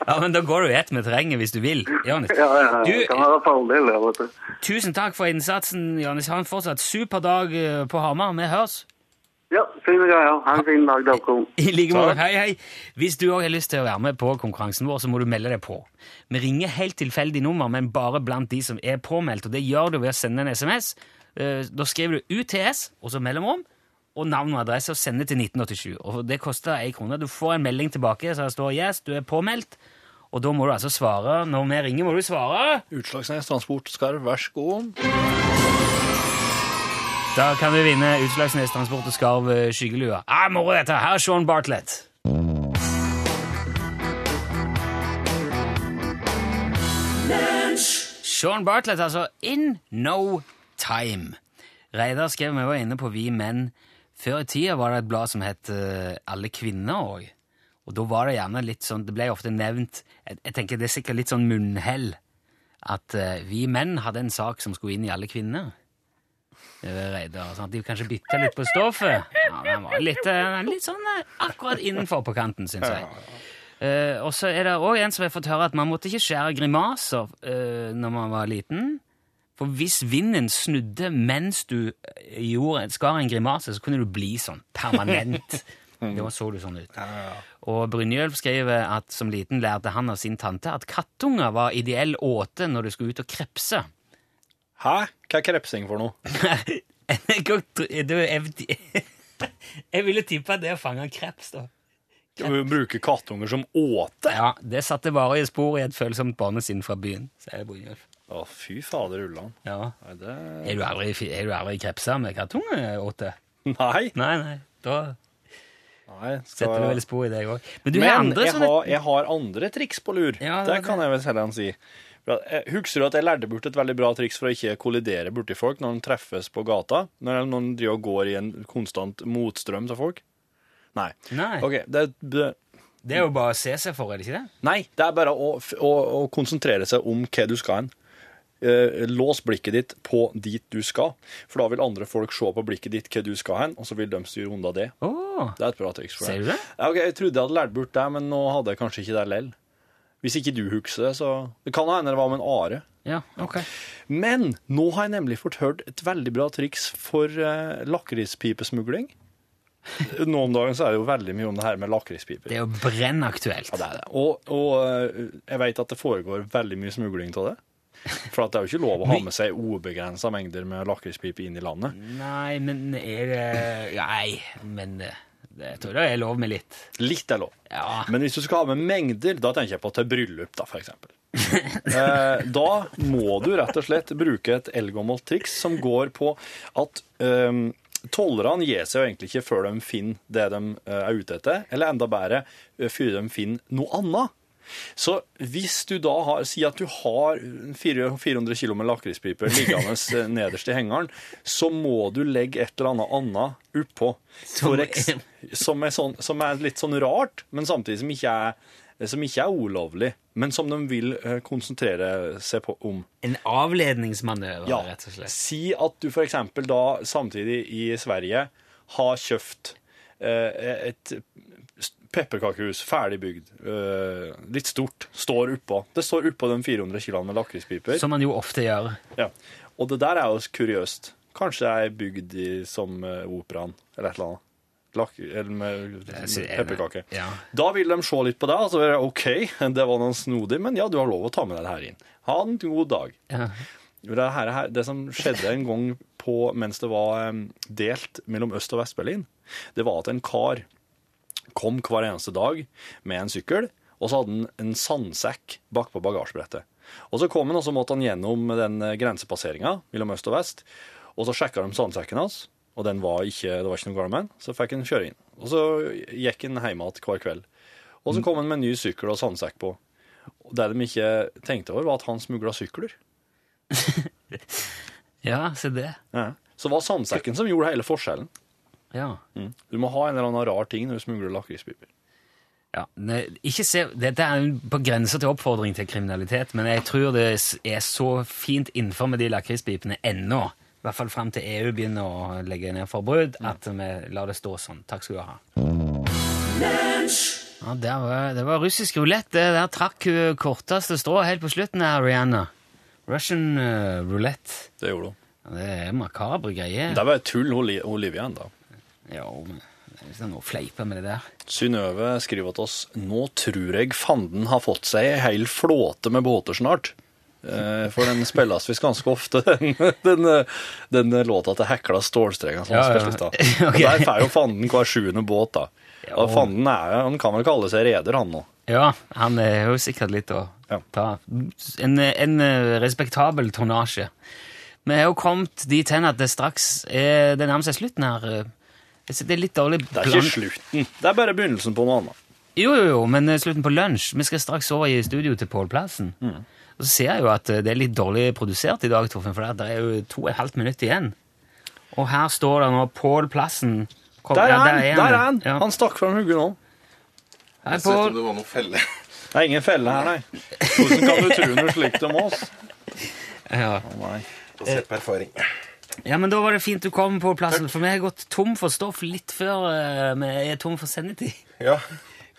Speaker 2: ja, men da går du i ett med terrenget hvis du vil, Jonis.
Speaker 9: Ja, ja, ja. det kan
Speaker 2: Du,
Speaker 9: være fordeler, vet du.
Speaker 2: tusen takk for innsatsen, Jonis. Ha en fortsatt super dag eh, på Hamar. Vi høres.
Speaker 9: Ja, fine greier. Ha en fin dag, dere.
Speaker 2: I like måte. Hei, hei. Hvis du òg har lyst til å være med på konkurransen vår, så må du melde deg på. Vi ringer helt tilfeldig nummer, men bare blant de som er påmeldt, og det gjør du ved å sende en SMS. Eh, Da skriver du UTS, og så mellomrom, og navn og adresse, og sender til 1987. Og det koster ei krone. Du får en melding tilbake så det står 'yes, du er påmeldt', og da må du altså svare. Når vi ringer, må du svare.
Speaker 3: Utslagsnes Transport Skarv, vær så god.
Speaker 2: Da kan du vinne Utslagsnes Transport og Skarv eh, skyggelua. Ah, moro dette! Her er Sean Bartlett. Sean Bartlett, altså In No Time. Reidar skrev vi var inne på Vi menn. Før i tida var det et blad som het eh, Alle kvinner òg. Og da var det gjerne litt sånn, det ble ofte nevnt Jeg, jeg tenker det er sikkert litt sånn munnhell. At eh, vi menn hadde en sak som skulle inn i Alle kvinner. Det var Reidar. Sånn at de kanskje bytta litt på stoffet. Ja, men han var litt, eh, litt sånn eh, akkurat innenfor på kanten, syns jeg. Eh, og så er det òg en som har fått høre at man måtte ikke skjære grimaser eh, når man var liten. For hvis vinden snudde mens du eh, gjorde, skar en grimase, så kunne du bli sånn permanent. Da så du sånn ut. Og Brynjulf skriver at som liten lærte han av sin tante at kattunger var ideell åte når du skulle ut og krepse.
Speaker 3: Hæ? Hva er krepsing for noe?
Speaker 2: Jeg, kan tro- du, jeg, jeg ville tippe at det å fange kreps, da.
Speaker 3: Du bruker kattunger som åte?
Speaker 2: Ja, Det satte varige spor i et følsomt barnesinn fra byen. sier Brynjulf.
Speaker 3: Å, fy fader, Ulland.
Speaker 2: Ja.
Speaker 3: Nei, det...
Speaker 2: Er du aldri, fi- er du aldri krepsa med eh, kattunge, Åte?
Speaker 3: Nei.
Speaker 2: Nei, nei. Da
Speaker 3: Nei, skal
Speaker 2: setter du
Speaker 3: jeg-
Speaker 2: vel spor i deg òg. Men du har
Speaker 3: Men
Speaker 2: andre
Speaker 3: jeg
Speaker 2: sånne
Speaker 3: har, jeg har andre triks på lur.
Speaker 2: Ja, det
Speaker 3: det,
Speaker 2: var
Speaker 3: kan jeg vel selv si. For at, eh, Husker du at jeg lærte bort et veldig bra triks for å ikke kollidere borti folk når de treffes på gata? Når de- når de driver og går i en konstant motstrøm til folk? Nei.
Speaker 2: Nei,
Speaker 3: Ok, det, er- det-
Speaker 2: Det er jo bare å se seg for, er det ikke det?
Speaker 3: nei, det er bare å, f- å, å konsentrere seg om hva du skal hen. Eh, Lås blikket ditt på dit du skal, for da vil andre folk se på blikket ditt hva du skal hen, og så vil de styre unna det.
Speaker 2: Åh,
Speaker 3: Det er et bra triks for
Speaker 2: ser
Speaker 3: deg.
Speaker 2: du det?
Speaker 3: Ja, ok, jeg trodde jeg hadde lært bort det, men nå hadde jeg kanskje ikke det lell. Hvis ikke du husker det, så Det kan hende det var med en are.
Speaker 2: Ja, ok.
Speaker 3: Men nå har jeg nemlig fått hørt et veldig bra triks for eh, lakrispipesmugling. Nå om dagen så er det jo veldig mye om det her med lakrispiper.
Speaker 2: Det er jo brennaktuelt.
Speaker 3: Ja, det er det. Og, og eh, jeg vet at det foregår veldig mye smugling av det. For at det er jo ikke lov å ha med seg ubegrensa mengder med lakrispipe inn i landet.
Speaker 2: Nei, men er det Nei, men eh, det, jeg tror det er lov med litt.
Speaker 3: Litt er lov.
Speaker 2: Ja.
Speaker 3: Men hvis du skal ha med mengder, da tenker jeg på til bryllup, da, for eksempel. Eh, da må du rett og slett bruke et eldgammelt triks som går på at eh, tollerne gir seg jo egentlig ikke før de finner det de eh, er ute etter, eller enda bedre, eh, før de finner noe annet. Så hvis du da har, sier at du har fire- 400 kilo med lakrispiper liggende eh, nederst i hengeren, så må du legge et eller annet annet oppå.
Speaker 2: Som
Speaker 3: For eks-
Speaker 2: er-
Speaker 3: som, er sånn, som er litt sånn rart, men samtidig som ikke er, som ikke er ulovlig, men som de vil eh, konsentrere seg på om.
Speaker 2: En avledningsmanøver,
Speaker 3: Ja,
Speaker 2: rett og slett.
Speaker 3: Si at du for eksempel da samtidig i Sverige har kjøpt eh, et pepperkakehus, ferdigbygd, eh, litt stort, står oppå. Det står oppå de 400 kiloene med lakrispiper.
Speaker 2: Som man jo ofte gjør.
Speaker 3: Ja. Og det der er jo kuriøst. Kanskje det er bygd i, som eh, operaen, eller et eller annet. Lak, eller med
Speaker 2: Jeg sier-
Speaker 3: pepperkake.
Speaker 2: Ja.
Speaker 3: Da vil de se litt på deg, og så er det OK, det var noe snodig, men ja, du har lov å ta med deg det her inn. Ha en god dag.
Speaker 2: Ja.
Speaker 3: Det, her, her, det som skjedde en gang på, mens det var em, delt mellom Øst- og Vest-Berlin, det var at en kar kom hver eneste dag med en sykkel, og så hadde han en sandsekk bak på bagasjebrettet. Og så kom han, og så måtte han gjennom den eh, grensepasseringen mellom øst og vest, og så sjekket de sandsekken hans, og den var ikke, det var ikke noe galt med den, så fikk han kjøre inn. Og så gikk han hjemme igjen hver kveld. Og så kom han med en ny sykkel og sandsekk på. Og det de ikke tenkte over var at han smuglet sykler.
Speaker 2: ja, se det.
Speaker 3: Ja. Så det var sandsekken som gjorde hele forskjellen.
Speaker 2: Ja.
Speaker 3: Du må ha en eller annen rar ting når du smugler lakrispiper.
Speaker 2: Ja, ne, ikke se, Dette er jo på grensa til oppfordring til kriminalitet, men jeg tror det s- er så fint innenfor med de lakrispipene ennå, i hvert fall fram til EU begynner å legge ned forbud, at vi lar det stå sånn. Takk skal du ha. Ja, der var, det var russisk rulett. det. Der trakk hun korteste strå helt på slutten her, Rihanna. Russian eh, roulette.
Speaker 3: Det gjorde hun.
Speaker 2: Ja, Det er makabre greier.
Speaker 3: Det er bare tull Oli- Olivia enda.
Speaker 2: Ja, men det er liksom noe fleipe med det der.
Speaker 3: Synnøve skriver til oss Nå tror jeg fanden har fått seg ei hel flåte med båter snart. Eh, For den spilles visst ganske ofte, den, den, eh, den låta til Hekla stålstrenga som
Speaker 2: Ja, ja.
Speaker 3: spilte i stad.
Speaker 2: Ok.
Speaker 3: Der får jo fanden hver sjuende båt, da.
Speaker 2: Ja.
Speaker 3: Og fanden er, jo- han kan vel kalle seg reder, han nå.
Speaker 2: Ja, han er jo sikkert litt å
Speaker 3: Ja.
Speaker 2: ta. En, en respektabel tonnasje. Vi er jo kommet dit hen at det straks er, det nærmer seg slutten her. Jeg synes Det er litt dårlig
Speaker 3: Det er ikke slutten. Det er bare begynnelsen på noe annet.
Speaker 2: Jo, jo, jo, men eh, slutten på lunsj. Vi skal straks over i studio til Pål Plassen.
Speaker 3: Mm.
Speaker 2: Og så ser jeg jo at eh, det er litt dårlig produsert i dag, Torfinn, for det er jo to og et halvt minutt igjen. Og her står det nå Pål Plassen. Kom-
Speaker 3: Der er
Speaker 2: ja,
Speaker 3: han! Der er han!
Speaker 2: Ja.
Speaker 3: Han stakk fram hodet nå.
Speaker 2: Hei,
Speaker 10: Så ut
Speaker 2: Pål.
Speaker 10: om det var noen felle.
Speaker 3: Det er ingen felle her, nei. Hvordan kan du tro noe slikt om oss?
Speaker 2: Ja.
Speaker 3: Å, nei.
Speaker 10: Basert på erfaring.
Speaker 2: Ja, men da var det fint du kom på plassen, for vi har gått tom for stoff litt før eh, vi er tom for sendetid.
Speaker 10: Ja,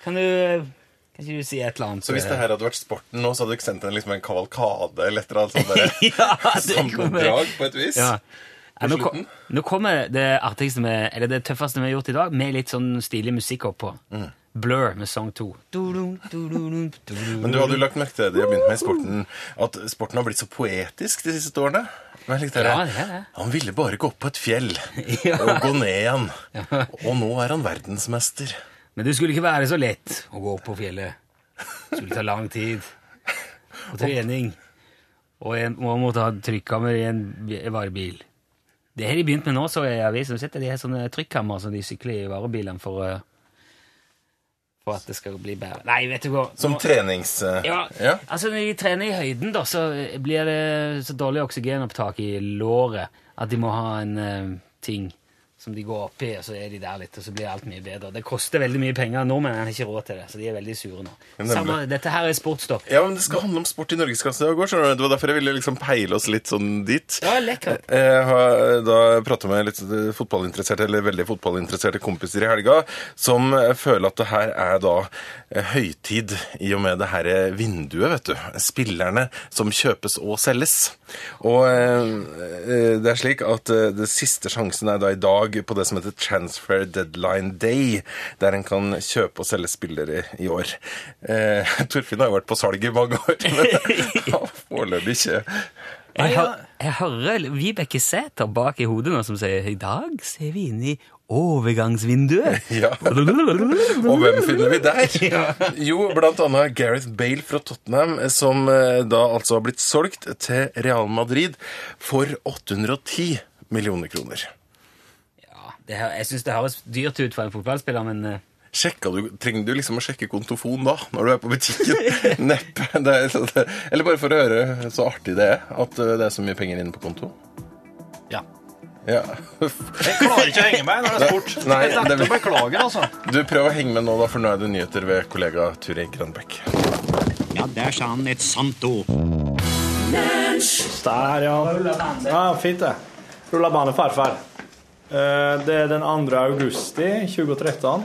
Speaker 2: Kan du Kan ikke du si et eller annet?
Speaker 10: Så hvis det her hadde vært sporten nå, så hadde dere sendt en, liksom en kavalkade eller et eller annet sånt der,
Speaker 2: ja, det kommer,
Speaker 10: sammendrag på et vis?
Speaker 2: ja. Ja, nå, kom,
Speaker 10: slutten?
Speaker 2: nå kommer det artigste med, eller det tøffeste vi har gjort i dag, med litt sånn stilig musikk oppå.
Speaker 10: Mm.
Speaker 2: Blur med Song 2. Du-dum, du-dum, du-dum.
Speaker 10: Men du hadde jo lagt merke til det jeg begynte med i sporten, at sporten har blitt så poetisk de siste årene. Men jeg likte det.
Speaker 2: Ja, det er det.
Speaker 10: Han ville bare gå opp på et fjell
Speaker 2: Ja.
Speaker 10: og gå ned igjen. Og nå er han verdensmester.
Speaker 2: Men det skulle ikke være så lett å gå opp på fjellet. Det skulle ta lang tid og trening. Og en, man måtte ha trykkammer i en bi- varebil. Det har de begynt med nå, så jeg i avisen. Sett, de har sånne trykkammer som de sykler i varebilene for, eh, for at det skal bli bedre. Nei, vet du hva.
Speaker 10: Som
Speaker 2: Nå-
Speaker 10: trenings... eh,
Speaker 2: ja,
Speaker 10: ja.
Speaker 2: altså Når de trener i høyden, da, så blir det så dårlig oksygenopptak i låret at de må ha en eh, ting som de går opp i, og så er de der litt, og så blir alt mye bedre. Det koster veldig mye penger. Nordmenn har ikke råd til det, så de er veldig sure nå.
Speaker 10: Nemlig.
Speaker 2: Samme, dette her er sportsstopp.
Speaker 10: Ja, men Det skal handle om sport i norgesklasse i dag òg. Det var derfor jeg ville liksom peile oss litt sånn dit.
Speaker 2: Ja, lekkert.
Speaker 10: Eh, Jeg har da prata med litt eh, fotballinteresserte eller veldig fotballinteresserte kompiser i helga, som eh, føler at det her er da eh, høytid i og med det her eh, vinduet, vet du. Spillerne som kjøpes og selges. Og eh, eh, det er slik at eh, det siste sjansen er da i dag dag på det som heter Transfer Deadline Day, der en kan kjøpe og selge spillere i år. Eh, Torfinn har jo vært på salg i mange år, men har foreløpig ikke
Speaker 2: Jeg, hø jeg hører Vibeke Sæther bak i hodet nå som sier i dag ser vi inn i overgangsvinduet.
Speaker 10: Ja. Og hvem finner vi der? Jo, blant annet Gareth Bale fra Tottenham, som eh, da altså har blitt solgt til Real Madrid for 810 millioner kroner.
Speaker 2: Ja, det, hø- jeg syns det høres dyrt ut for en fotballspiller, men eh,
Speaker 10: Sjekka du, trenger du liksom å sjekke kontofon da, når du er på butikken? Neppe. Det, er- så det, eller bare for å høre så artig det er, at eh, det er så mye penger inne på konto.
Speaker 11: Ja.
Speaker 10: Ja.
Speaker 11: Jeg klarer ikke å henge meg når det er sport.
Speaker 10: Nei,
Speaker 11: Jeg
Speaker 10: det-
Speaker 11: beklager, altså.
Speaker 10: Du, prøv å henge med nå, da, for nå er det nyheter ved kollega Turid Grønbekk.
Speaker 12: Ja, der sa han et sant ord.
Speaker 3: Der, ja. ja fint, det. Rullebane farfar. Eh, Det er den 2. august i 2013.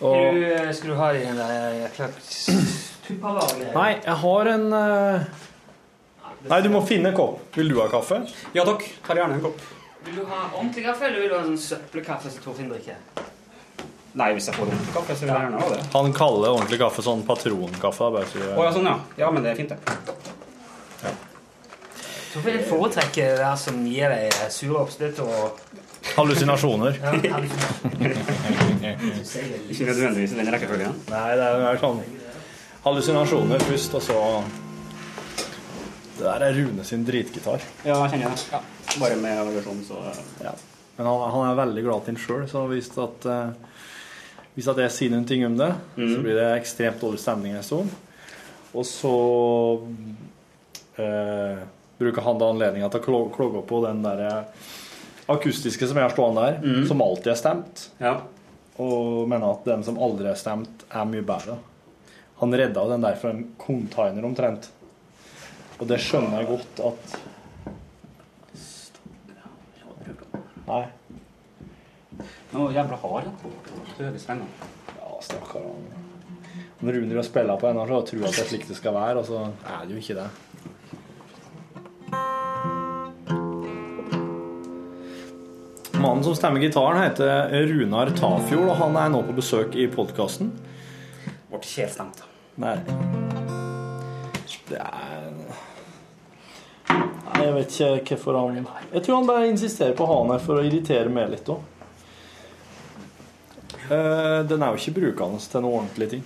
Speaker 3: Og
Speaker 2: Skal du ha i den der eh, klart
Speaker 3: Nei, jeg har en eh, Nei, du må finne en kopp. Vil du ha kaffe?
Speaker 13: Ja takk. Tar gjerne en kopp.
Speaker 2: Vil du ha ordentlig kaffe, eller vil du ha sånn søppelkaffe som Torfinn drikker?
Speaker 13: Nei, hvis jeg får ordentlig kaffe, så vil jeg gjerne ha det.
Speaker 3: Han kaller ordentlig kaffe sånn patronkaffe. Bare så
Speaker 13: Å ja, sånn, ja. Ja, men det er fint, det.
Speaker 2: Torfinn foretrekker det der som gir deg eh, sure oppstøt og
Speaker 3: Hallusinasjoner.
Speaker 2: ja, liksom- han-
Speaker 13: Ikke nødvendigvis i den rekkefølgen.
Speaker 3: Nei, det er mer sånn hallusinasjoner først, og så Det der er Rune sin dritgitar.
Speaker 13: Ja, jeg kjenner det. Ja. Bare med variasjon, så eh,
Speaker 3: Ja. Men han, han er veldig glad til den sjøl, så hvis at, eh, hvis at jeg sier noen ting om det, så blir det ekstremt dårlig stemning en stund. Og så eh, bruker han da anledninga til å klo- klogge på den der eh, akustiske som jeg har stående der, som alltid er stemt,
Speaker 13: Ja.
Speaker 3: og mener at den som aldri er stemt, er mye bedre. Han redda den der fra en container omtrent. Og det skjønner jeg godt at Nei.
Speaker 13: Nå jævla hard, ja. Høres spennende.
Speaker 3: Ja, stakkar. han. Når Rune driver og spiller på en, så tror jeg at det er slik det skal være, og så er det jo ikke det. Mannen som stemmer gitaren, heter Runar Tafjord, og han er nå på besøk i podkasten.
Speaker 13: Ble ikke helt stemt.
Speaker 3: Nei. Det er Nei, jeg vet ikke hvorfor han Jeg tror han bare insisterer på å ha han her for å irritere meg litt òg. Eh, Den er jo ikke brukende til noen ordentlige ting.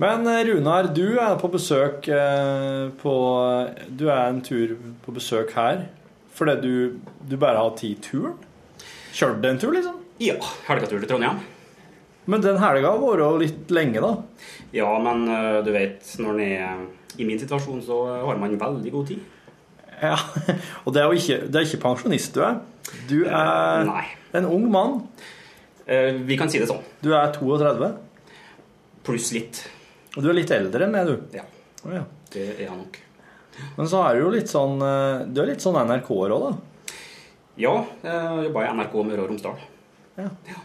Speaker 3: Men eh, Runar, du er på besøk eh, på Du er en tur på besøk her fordi du, du bare har tid turen? Kjørte du en tur, liksom?
Speaker 13: Ja. Helgetur til Trondheim.
Speaker 3: Men den helga har vært jo litt lenge, da.
Speaker 13: Ja, men eh, du vet, når den er eh, i min situasjon, så eh, har man veldig god tid.
Speaker 3: Ja, og det er jo ikke, det er ikke pensjonist du er. Du er
Speaker 13: Nei.
Speaker 3: en ung mann.
Speaker 13: Eh, Vi kan si det sånn.
Speaker 3: Du er 32,
Speaker 13: Pluss litt.
Speaker 3: og du er litt eldre enn meg, du.
Speaker 13: Ja.
Speaker 3: Å Ja.
Speaker 13: Det er jeg nok.
Speaker 3: Men så er du jo litt sånn eh, Du er litt sånn NRK-er òg, da.
Speaker 13: Ja, jeg jobba i NRK Møre og Romsdal.
Speaker 3: Ja.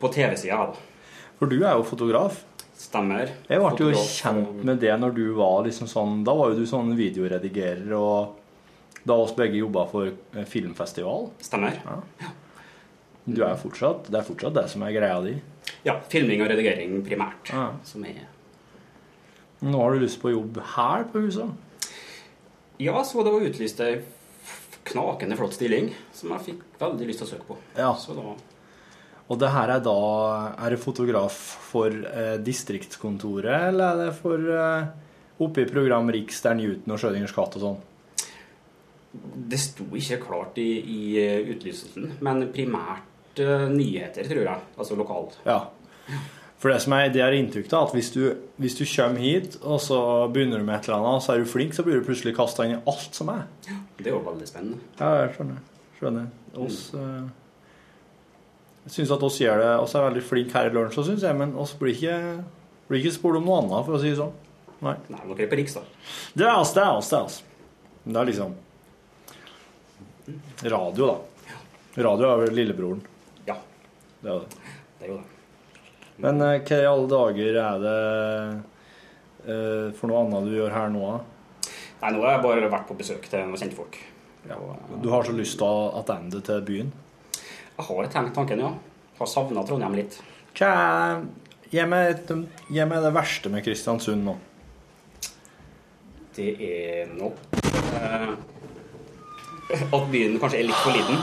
Speaker 13: På TV-sida, da.
Speaker 3: For du er jo fotograf.
Speaker 13: Stemmer.
Speaker 3: Jeg ble jo
Speaker 13: Fotograf.
Speaker 3: kjent med det når du var liksom sånn Da var jo du sånn videoredigerer og da oss begge jobba for eh, filmfestival.
Speaker 13: Stemmer.
Speaker 3: Du er jo fortsatt Det er fortsatt det som er greia di.
Speaker 13: Ja. Filming og redigering primært.
Speaker 3: Ja.
Speaker 13: Som er
Speaker 3: Nå har du lyst på jobb her på huset.
Speaker 13: Ja, så det var utlyst ei f- knakende flott stilling som jeg fikk veldig lyst til å søke på.
Speaker 3: Ja.
Speaker 13: Så da
Speaker 3: Og det her er da Er det fotograf for eh, distriktskontoret, eller er det for eh, oppe i program Riks, der Newton og Schrødingers katt og sånn?
Speaker 13: Det sto ikke klart i, i eh, utlyselsen, men primært eh, nyheter, tror jeg. Altså lokal.
Speaker 3: Ja. For det som er, det er inntrykk av, at hvis du, hvis du kommer hit, og så begynner du med et eller annet, og så er du flink, så blir du plutselig kasta inn i alt som er.
Speaker 13: Det er jo veldig spennende.
Speaker 3: Ja, jeg skjønner. Skjønner. Oss, eh, jeg syns at oss gjør det oss er veldig flinke her i lunsj, så synes jeg, men oss blir ikke, blir ikke spurt om noe annet, for å si det sånn. Nei.
Speaker 13: Nei, dere er på Riks, da.
Speaker 3: Det er oss, det er oss, det er oss. Men det er liksom Radio, da. Radio er vel lillebroren.
Speaker 13: Ja,
Speaker 3: Det er det.
Speaker 13: det er jo det.
Speaker 3: Men eh, hva i alle dager er det eh, for noe annet du gjør her nå? da?
Speaker 13: Nei, nå har jeg bare vært på besøk til noen kjente folk.
Speaker 3: Du har så lyst til å attende til byen?
Speaker 13: Jeg har tenkt tanken, ja. Har savna Trondheim litt.
Speaker 3: Hva er Gi meg et- gi meg det verste med Kristiansund nå.
Speaker 13: Det er nok eh, at byen kanskje er litt for liten.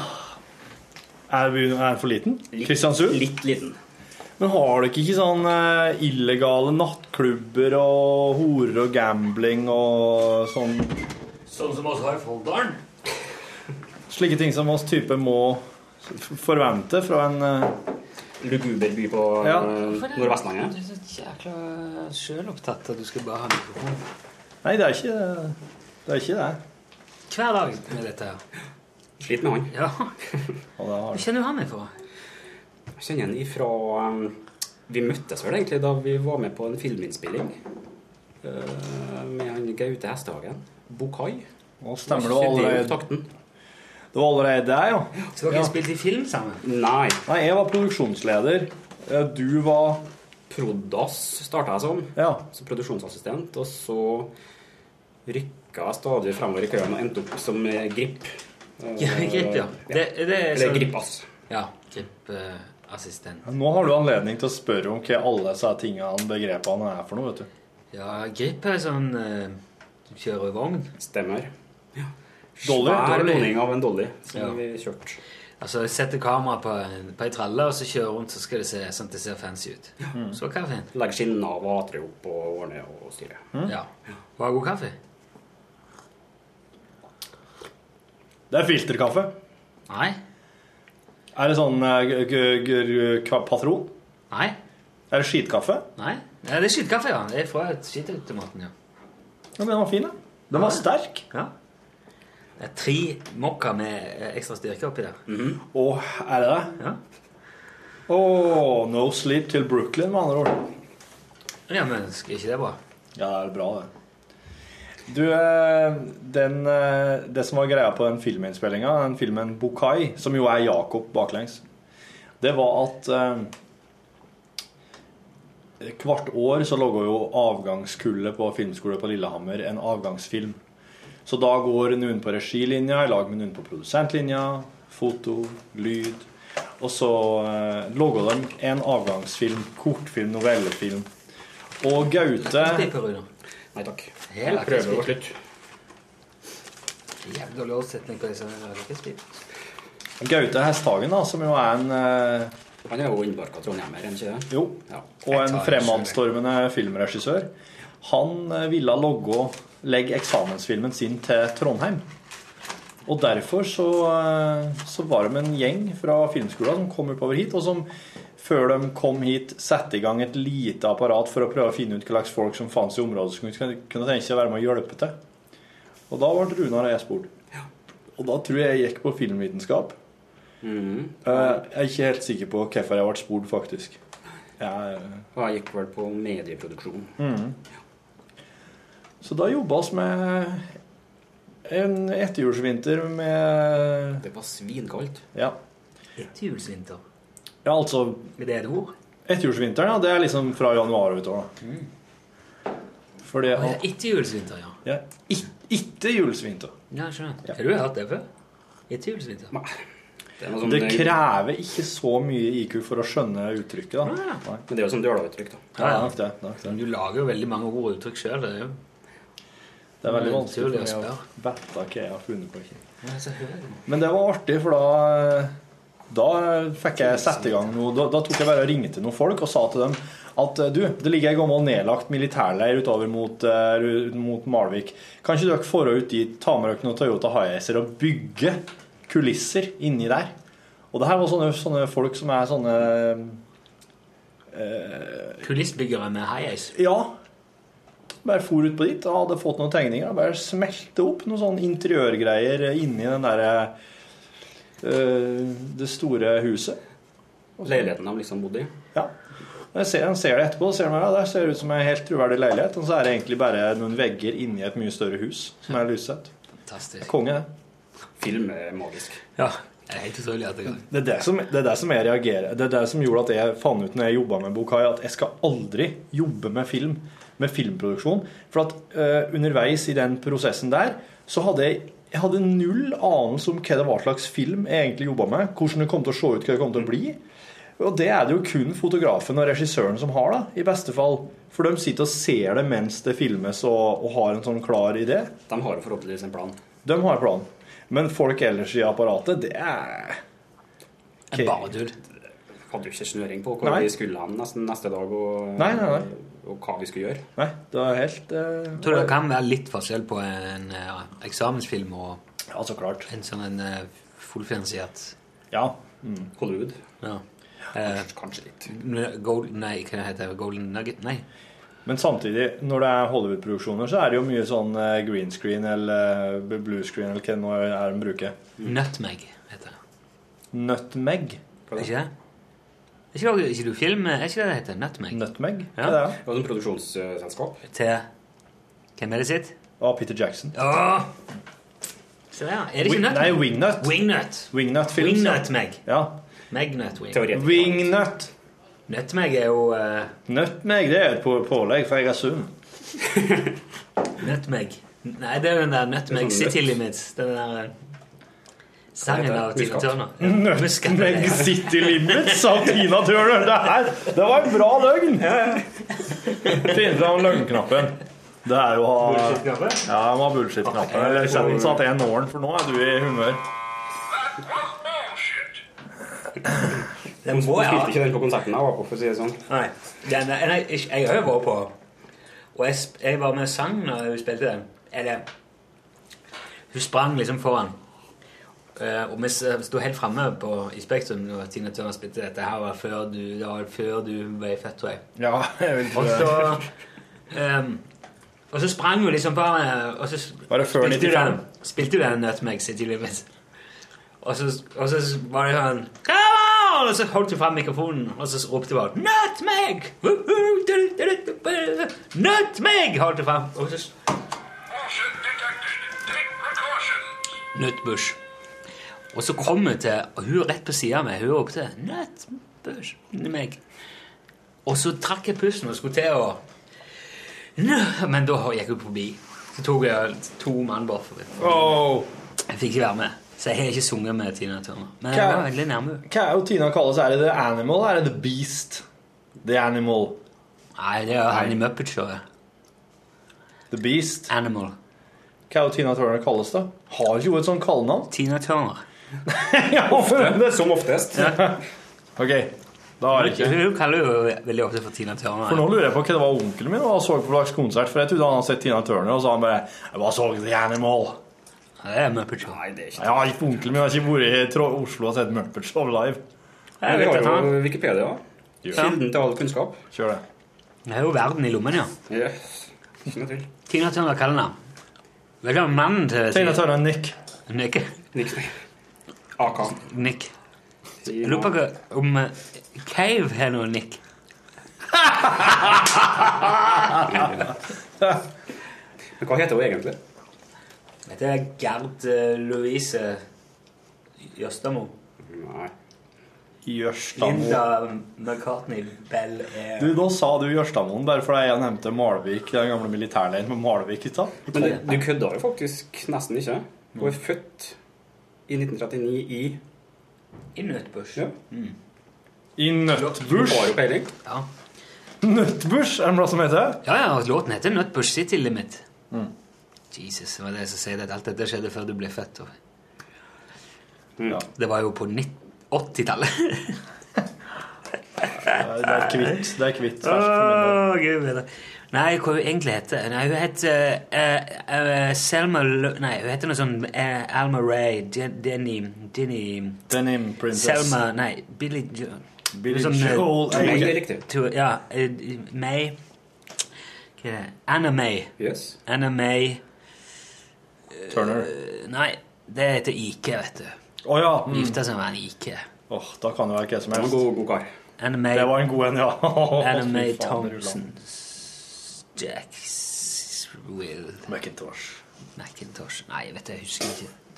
Speaker 3: Er byen er den for liten? Kristiansund?
Speaker 13: Litt liten.
Speaker 3: Men har dere ikke sånn eh, illegale nattklubber og horer og gambling og sånn
Speaker 2: Sånn som oss har i Folldalen.
Speaker 3: Slike ting som oss type må f- forvente fra en eh,
Speaker 13: Luguber by på eh,
Speaker 3: ja.
Speaker 2: Du er så jækla sjølopptatt at du skal bare ha mikrofon.
Speaker 3: Nei, det er ikke det. Er ikke det.
Speaker 2: Hver dag med dette her.
Speaker 13: Slitt med han.
Speaker 2: Ja.
Speaker 3: Hva
Speaker 2: kjenner du han ifra?
Speaker 13: Jeg kjenner han ifra eh, Vi møttes vel egentlig da vi var med på en filminnspilling eh, med han Gaute Hestehagen. Bokhai.
Speaker 3: Nå stemmer det
Speaker 13: Var ikke
Speaker 3: allerede.
Speaker 13: opptakten?
Speaker 3: Det var allerede der, ja.
Speaker 2: Så dere spilte i film sammen?
Speaker 13: Nei.
Speaker 3: Nei, jeg var produksjonsleder. Eh, Du var
Speaker 13: Prodas starta jeg som. Som produksjonsassistent. Og så rykka jeg stadig fremover i køen og endte opp som eh, grip. Eh,
Speaker 2: Ja, grip, ja. Det- det er
Speaker 13: Eller
Speaker 2: sånn-
Speaker 13: gripass.
Speaker 2: Ja. eh, Grip-assistent.
Speaker 3: Nå har du anledning til å spørre om hva alle disse tingene, begrepene, er for noe, vet du.
Speaker 2: ja, grip er sånn eh, Du kjører vogn.
Speaker 13: Stemmer.
Speaker 2: Dolly.
Speaker 13: Svær
Speaker 2: Dolly.
Speaker 13: låning av en dolly som
Speaker 2: Ja.
Speaker 13: vi kjørte.
Speaker 2: Altså, jeg setter kamera på en, på en tralle, og så kjører rundt, så skal det se sånn at det ser fancy ut.
Speaker 13: Mm.
Speaker 2: Så kaffen.
Speaker 13: Legger skinn av og atre opp og ordner og styrer.
Speaker 2: Ja. Var det god kaffe?
Speaker 3: Det er filterkaffe.
Speaker 2: Nei.
Speaker 3: Er det sånn eh, g- g- g- patron?
Speaker 2: Nei.
Speaker 3: Er det skitkaffe?
Speaker 2: Nei. Ja, det er skittkaffe, ja. Det er fra et skittautomaten, ja.
Speaker 3: Ja, men den var fin, da. Den var sterk.
Speaker 2: Ja. Det er tre mokka med eh, ekstra styrke oppi der.
Speaker 3: Åh, er det det?
Speaker 2: Ja.
Speaker 3: Åh, no sleep til Brooklyn, med andre ord.
Speaker 2: Ja, men skal ikke det bra?
Speaker 3: Ja, det er bra, det. Du, eh, den, eh, det som var greia på den filminnspillinga, den filmen Bokai, som jo er Jakob baklengs, det var at eh, Hvert år så lager jo avgangskullet på filmskole på Lillehammer en avgangsfilm. Så da går noen på regilinja i lag med noen på produsentlinja. Foto, lyd. Og så eh, lager de en avgangsfilm. Kortfilm, novellefilm. Og Gaute
Speaker 13: Nei takk.
Speaker 2: Hele
Speaker 13: Prøver å gå slutt.
Speaker 2: Jævlig dårlig oversetning på disse lakrispiper.
Speaker 3: Gaute Hesthagen, da, som jo er en eh,
Speaker 13: Han er jo innbarka trondheimer, er han ikke det?
Speaker 3: Jo. Og
Speaker 13: Jeg
Speaker 3: en
Speaker 13: tar
Speaker 3: fremadstormende filmregissør. Han eh, ville logge, legge eksamensfilmen sin til Trondheim. Og derfor så, eh, så var de en gjeng fra filmskolen som kom oppover hit, og som før de kom hit, satte i gang et lite apparat for å prøve å finne ut hva slags folk som fantes i området som kunne kunne tenke seg å være med og hjelpe til. Og da ble Runar og jeg spurt. Og da tror jeg jeg gikk på filmvitenskap.
Speaker 13: Mhm.
Speaker 3: Eh, Jeg er ikke helt sikker på hvorfor jeg ble spurt, faktisk. Jeg, eh,
Speaker 13: Og jeg gikk vel på medieproduksjon.
Speaker 3: mhm. Så da jobba vi med en etterjulsvinter med
Speaker 13: Det var svinkaldt.
Speaker 3: Ja.
Speaker 2: Etterjulsvinter.
Speaker 3: ja, altså
Speaker 2: Er det et ord?
Speaker 3: Etterjulsvinteren, ja, det er liksom fra januar ut. da. Fordi
Speaker 2: Ja.
Speaker 3: at
Speaker 2: Etterjulsvinter, ja.
Speaker 3: ja, it- Ikke julsvinter.
Speaker 2: Ja, skjønner. Har du hørt det før? Etterjulsvinter?
Speaker 13: Nei. er noe som-
Speaker 3: Det krever ikke så mye IQ for å skjønne uttrykket, da. Nei.
Speaker 13: Men det er jo som dølauttrykk, da.
Speaker 3: Ja, det er nok det. det er nok det.
Speaker 2: Du lager jo veldig mange ord og uttrykk sjøl. Det er jo
Speaker 3: Det er veldig
Speaker 2: Men
Speaker 3: vanskelig
Speaker 2: naturlig å
Speaker 3: for meg å vite hva jeg har funnet på. Ikke.
Speaker 2: Ja, så hører jeg det.
Speaker 3: Men det var artig, for da Da fikk jeg sette i gang noe da, da tok jeg bare og ringte noen folk og sa til dem at eh, du, det ligger ei gammel nedlagt militærleir utover mot, eh, ut mot Malvik. Kan ikke dere fara ut dit, ta med dere noen Toyota Highacer og bygge kulisser inni der? Og det her var sånne, sånne folk som er sånne eh,
Speaker 2: Kulissbyggere med high-ace.
Speaker 3: ja. Bare for ut på dit og hadde fått noen tegninger. Bare smelte opp noen sånne interiørgreier inni den derre eh, Det store huset.
Speaker 13: Leiligheten de liksom bodde i.
Speaker 3: Ja. Når jeg ser, han ser det etterpå, så ser han, ja, der ser det ut som en helt troverdig leilighet. Og så er det egentlig bare noen vegger inni et mye større hus som er lyssatt.
Speaker 2: Fantastisk.
Speaker 3: Konge, det.
Speaker 13: Film er magisk.
Speaker 2: Ja. Det er helt utrolig at det går.
Speaker 3: Det er det, som, det er det som jeg reagerer Det er det som gjorde at jeg fant ut når jeg jobba med Bokai, at jeg skal aldri jobbe med film, med filmproduksjon. For at eh, underveis i den prosessen der, så hadde jeg jeg hadde null anelse om hva det var slags film jeg egentlig jobba med. Hvordan det kom til å se ut, hva det kom til å bli. Og det er det jo kun fotografen og regissøren som har, da, i beste fall. For de sitter og ser det mens det filmes og, og har en sånn klar idé.
Speaker 13: De har jo forhåpentligvis en plan.
Speaker 3: De har en plan. Men folk ellers i apparatet, det er
Speaker 13: En badetur. Hadde jo ikke snøring på hvor
Speaker 3: Nei.
Speaker 13: vi skulle hen nesten neste dag, og,
Speaker 3: Nei, nei, nei.
Speaker 13: og hva vi skulle gjøre.
Speaker 3: Nei, det er helt eh,
Speaker 2: Jeg tror det kan være litt forskjell på en eh, eksamensfilm og
Speaker 3: ja, så klart.
Speaker 2: en sånn en eh, fullfinansiert
Speaker 3: Ja.
Speaker 13: Hollywood.
Speaker 2: Ja. Eh,
Speaker 13: Kanskje litt.
Speaker 2: Gold, nei, hva heter det? Golden Nugget? Nei.
Speaker 3: Men samtidig, når det er Hollywood-produksjoner, så er det jo mye sånn eh, green screen eller eh, blue screen eller hva det nå er de bruker.
Speaker 2: Nutmeg heter det.
Speaker 3: Nutmeg.
Speaker 2: Er ikke det? Er ikke, det, er ikke du film? Er ikke det det heter? Nutmeg?
Speaker 3: Nutmeg?
Speaker 2: Ja.
Speaker 3: Det
Speaker 2: er
Speaker 13: det. sånn produksjonsselskap.
Speaker 2: Til Hvem er det sitt?
Speaker 3: Av Peter Jackson.
Speaker 2: Åh! Se der, ja. Er det ikke
Speaker 3: Wing-
Speaker 2: Nutmeg?
Speaker 3: Nei, Wingnut.
Speaker 2: Wingnut.
Speaker 3: Wingnut Films.
Speaker 2: Wingnutmeg.
Speaker 3: Ja.
Speaker 2: Magnut Wing.
Speaker 3: Wingnut.
Speaker 2: Nutmeg er jo eh,
Speaker 3: Nutmeg, det er et på- pålegg, for jeg er sunn.
Speaker 2: Nutmeg. Nei, det er den der Nutmeg
Speaker 3: Det er sånn
Speaker 2: City
Speaker 3: nøtt.
Speaker 2: Limits. Den der eh, sangen av Tina
Speaker 3: Muskat.
Speaker 2: Turner. Muskat,
Speaker 3: Nutmeg
Speaker 2: ja.
Speaker 3: City Limits, sa Tina Turner. Det, her, det var en bra løgn! Finn fram løgnknappen. Det er jo å ha
Speaker 2: Bullshit-knappen?
Speaker 3: Ja, må ha bullshit-knappen. Eller sett den sånn at jeg når den, for nå er du i humør.
Speaker 2: Den må
Speaker 13: Hun
Speaker 2: jeg ha.
Speaker 13: spilte ikke den på konserten jeg var på, for å si det sånn.
Speaker 2: Nei. Den, er- nei jeg, jeg har jo vært på. Og jeg, sp- jeg var med og sang når hun spilte den. Eller Hun sprang liksom foran. Eh, og vi s- sto helt framme i Spektrum når Tina Turner spilte dette. her var før du, Det var før du ble født, tror jeg.
Speaker 3: Ja, jeg vil
Speaker 2: Og så ehm, Og så sprang hun liksom bare og så s-
Speaker 3: Var det før
Speaker 2: spilte hun
Speaker 3: 95?
Speaker 2: den- Spilte hun den Nutmeg City Limits? Og så, og så var det sånn Come on! Og så holdt hun fram mikrofonen, og så ropte hun bare Nutmeg! Woohoo! Du- du- du- du- du- du- Nutmeg! Holdt hun fram. Og så Nutbush. Og så kom hun til Og hun er rett på sida av meg. Hun ropte Nutbush. Meg. Og så trakk jeg pusten og skulle til å Nå- Men da gikk hun forbi. Så tok jeg to mann bort forbi. Jeg fikk ikke være med. Så jeg har ikke sunget med Tina Turner. Men jeg var veldig nærme.
Speaker 3: Hva er jo Tina kaller seg? Er det The Animal eller er det The Beast? The Animal.
Speaker 2: Nei, det er jo han i Muppet Showet.
Speaker 3: The Beast.
Speaker 2: Animal.
Speaker 3: Hva er jo Tina Turner kalles, da? Har ikke hun et sånt kallenavn?
Speaker 2: Tina Turner.
Speaker 3: ja, ofte.
Speaker 13: Som oftest.
Speaker 3: ok, da har jeg ikke
Speaker 2: Hun kaller jo veldig ofte for Tina Turner.
Speaker 3: For nå lurer jeg på hva det var onkelen min var og så på slags konsert. For jeg trodde han hadde sett Tina Turner, og så han bare Jeg bare så The Animal.
Speaker 2: Nei, det er Muppet Show.
Speaker 13: Nei, det er ikke
Speaker 3: Ja, ikke onkelen min har ikke vært i Tro- Oslo og sett Muppet Show live.
Speaker 2: Jeg vet
Speaker 13: Vi
Speaker 2: dette,
Speaker 13: har
Speaker 2: da.
Speaker 13: jo Wikipedia. Kilden til all kunnskap.
Speaker 3: Kjør det.
Speaker 2: Det er jo verden i lommen, ja.
Speaker 13: Yes. Ikke noe tvil.
Speaker 2: Tina Turner kallenavn. Vet du hva mannen til
Speaker 3: Tina Turner Nick.
Speaker 2: Nick.
Speaker 13: Nick. AK.
Speaker 2: Nick. Jeg lurer på hva- om eh, Cave har noe Nick.
Speaker 13: Men hva heter hun egentlig?
Speaker 2: Dette er Gerd eh, Louise Jøstamo.
Speaker 13: Nei.
Speaker 3: Jørstamo.
Speaker 2: Linda McCartney Bell er
Speaker 3: Du, Nå sa du Jørstamoen bare fordi jeg nevnte Malvik, den gamle militærleiren på Malvik i stad.
Speaker 13: Men du, du kødda jo faktisk nesten ikke. Hun er født i 1939 i
Speaker 2: i Nøtbush.
Speaker 13: Ja.
Speaker 3: I
Speaker 13: Hun
Speaker 3: Nøttbush.
Speaker 13: har jo peiling.
Speaker 2: Ja.
Speaker 3: Nøttbush er det noe som heter?
Speaker 2: ja, ja, og låten heter Nøtbush City Limit.
Speaker 3: Mm.
Speaker 2: Jesus, det var det som sier at alt dette skjedde før du ble født. og-
Speaker 3: Ja.
Speaker 2: Det var jo på nitt- 80-tallet.
Speaker 3: Det er kvitt. Det er kvitt.
Speaker 2: Åh,
Speaker 3: verst for min del.
Speaker 2: Gud bedre. Nei, hva hun egentlig heter Nei, hun heter eh, eh, Selma Lo Nei, hun heter noe sånn eh, Alma Ray Den- Denny Denny
Speaker 3: Denim Princess.
Speaker 2: Selma Nei, Billy Jo
Speaker 3: Billie
Speaker 2: sånn, eh,
Speaker 3: Joel
Speaker 13: Nei,
Speaker 3: Age.
Speaker 13: det er riktig.
Speaker 2: to, Ja, eh, May Hva er det? Anna May.
Speaker 13: Yes.
Speaker 2: Anna May
Speaker 3: Turner.
Speaker 2: eh, Nei, det heter Ike, vet du.
Speaker 3: Å ja. Mm.
Speaker 2: Gifta seg med en Ike.
Speaker 3: Åh, da kan det være hva som
Speaker 13: Hun er en
Speaker 3: helst.
Speaker 13: god, god kar.
Speaker 2: Anna May,
Speaker 3: Det var en god en, ja.
Speaker 2: Anna
Speaker 3: Fy
Speaker 2: May
Speaker 3: faen, det rullet.
Speaker 2: Thompson S- Jacks Will
Speaker 3: Macintosh.
Speaker 2: Macintosh Nei, jeg vet det, jeg husker ikke.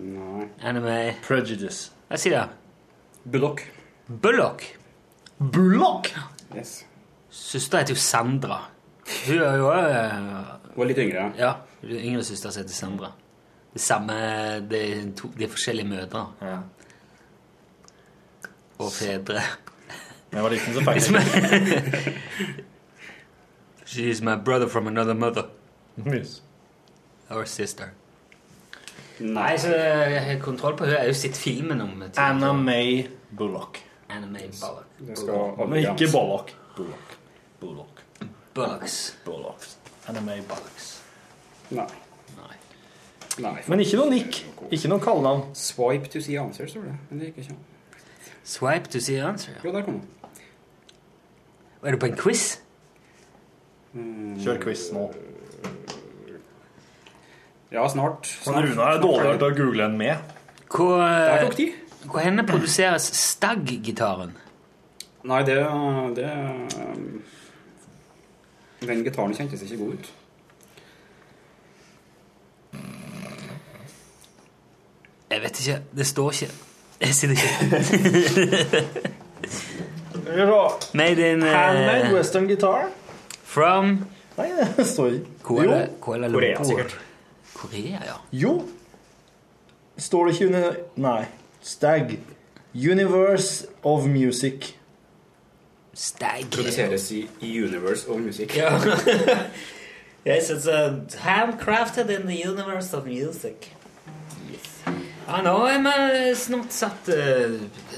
Speaker 13: Nei.
Speaker 2: Anime
Speaker 3: Prejudice.
Speaker 2: Hva sier jeg?
Speaker 13: Bullock.
Speaker 2: Bullock.
Speaker 3: Bullock!
Speaker 13: Yes.
Speaker 2: Søster heter jo Sandra. Hun er jo eh,
Speaker 13: Hun er litt yngre.
Speaker 2: Ja, yngre søster som heter Sandra. Det samme Det er, to, det er forskjellige mødre. Og fedre.
Speaker 3: Da jeg var liten, så
Speaker 2: Liksom-
Speaker 3: feil.
Speaker 2: She is my brother from another mother.
Speaker 3: Yes.
Speaker 2: Our sister. Nei, så jeg har kontroll på henne. Jeg har jo sett filmen om det.
Speaker 3: Anna May Bullock.
Speaker 2: Anna May Bullock.
Speaker 3: Det skal aldri Men ikke glemmes. Bullock. Bullock. Bullock.
Speaker 2: Bullocks.
Speaker 3: Bullocks. Anna May Bullocks.
Speaker 13: Nei. Nei.
Speaker 3: Men ikke noe nikk. Ikke noe kallenavn.
Speaker 13: Swipe to see answer, står det. Men det gikk ikke an.
Speaker 2: Swipe to see answer.
Speaker 13: Jo, der kom den.
Speaker 2: Er du på en quiz?
Speaker 3: Kjør quiz nå.
Speaker 13: Ja, snart.
Speaker 3: Men Runa er dårligere til å google enn meg.
Speaker 2: Hvor,
Speaker 13: Det tok tid.
Speaker 2: hvor henne produseres Stag-gitaren?
Speaker 13: Nei, det, det um, Den gitaren kjentes ikke god ut.
Speaker 2: Jeg vet ikke. Det står ikke. Jeg sitter ikke Made in eh,
Speaker 3: Handmade western guitar.
Speaker 2: From
Speaker 3: Nei, det står ikke.
Speaker 2: Kuala,
Speaker 3: Jo.
Speaker 2: Kuala Lumpur.
Speaker 3: Korea, sikkert.
Speaker 2: Korea, ja.
Speaker 3: Jo. Står det ikke under Nei. Stag. Universe of Music.
Speaker 2: Stag.
Speaker 13: Produseres i Universe of Music.
Speaker 2: Ja. Yes, it's a handcrafted in the universe of music. Ja, nå er vi snart satt eh,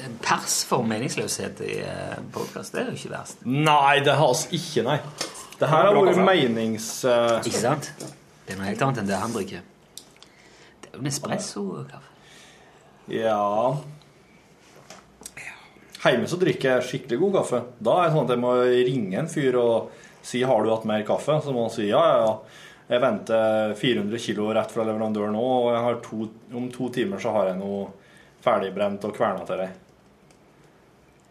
Speaker 2: en pers for meningsløshet i uh, podkast. Det er jo ikke verst.
Speaker 3: Nei, det har oss ikke, nei. Det her har
Speaker 2: Bra
Speaker 3: vært
Speaker 2: kaffe.
Speaker 3: menings... eh,
Speaker 2: Ikke sant? Det er noe helt annet enn det han drikker. Det er jo Nespresso-kaffe.
Speaker 3: Ja Hjemme så drikker jeg skikkelig god kaffe. Da er det sånn at jeg må ringe en fyr og si 'Har du hatt mer kaffe?' Så må han si 'Ja, ja, ja'. Jeg venter 400 kilo rett fra leverandør nå, og jeg har to, om to timer så har jeg noe ferdigbrent og kverna til deg.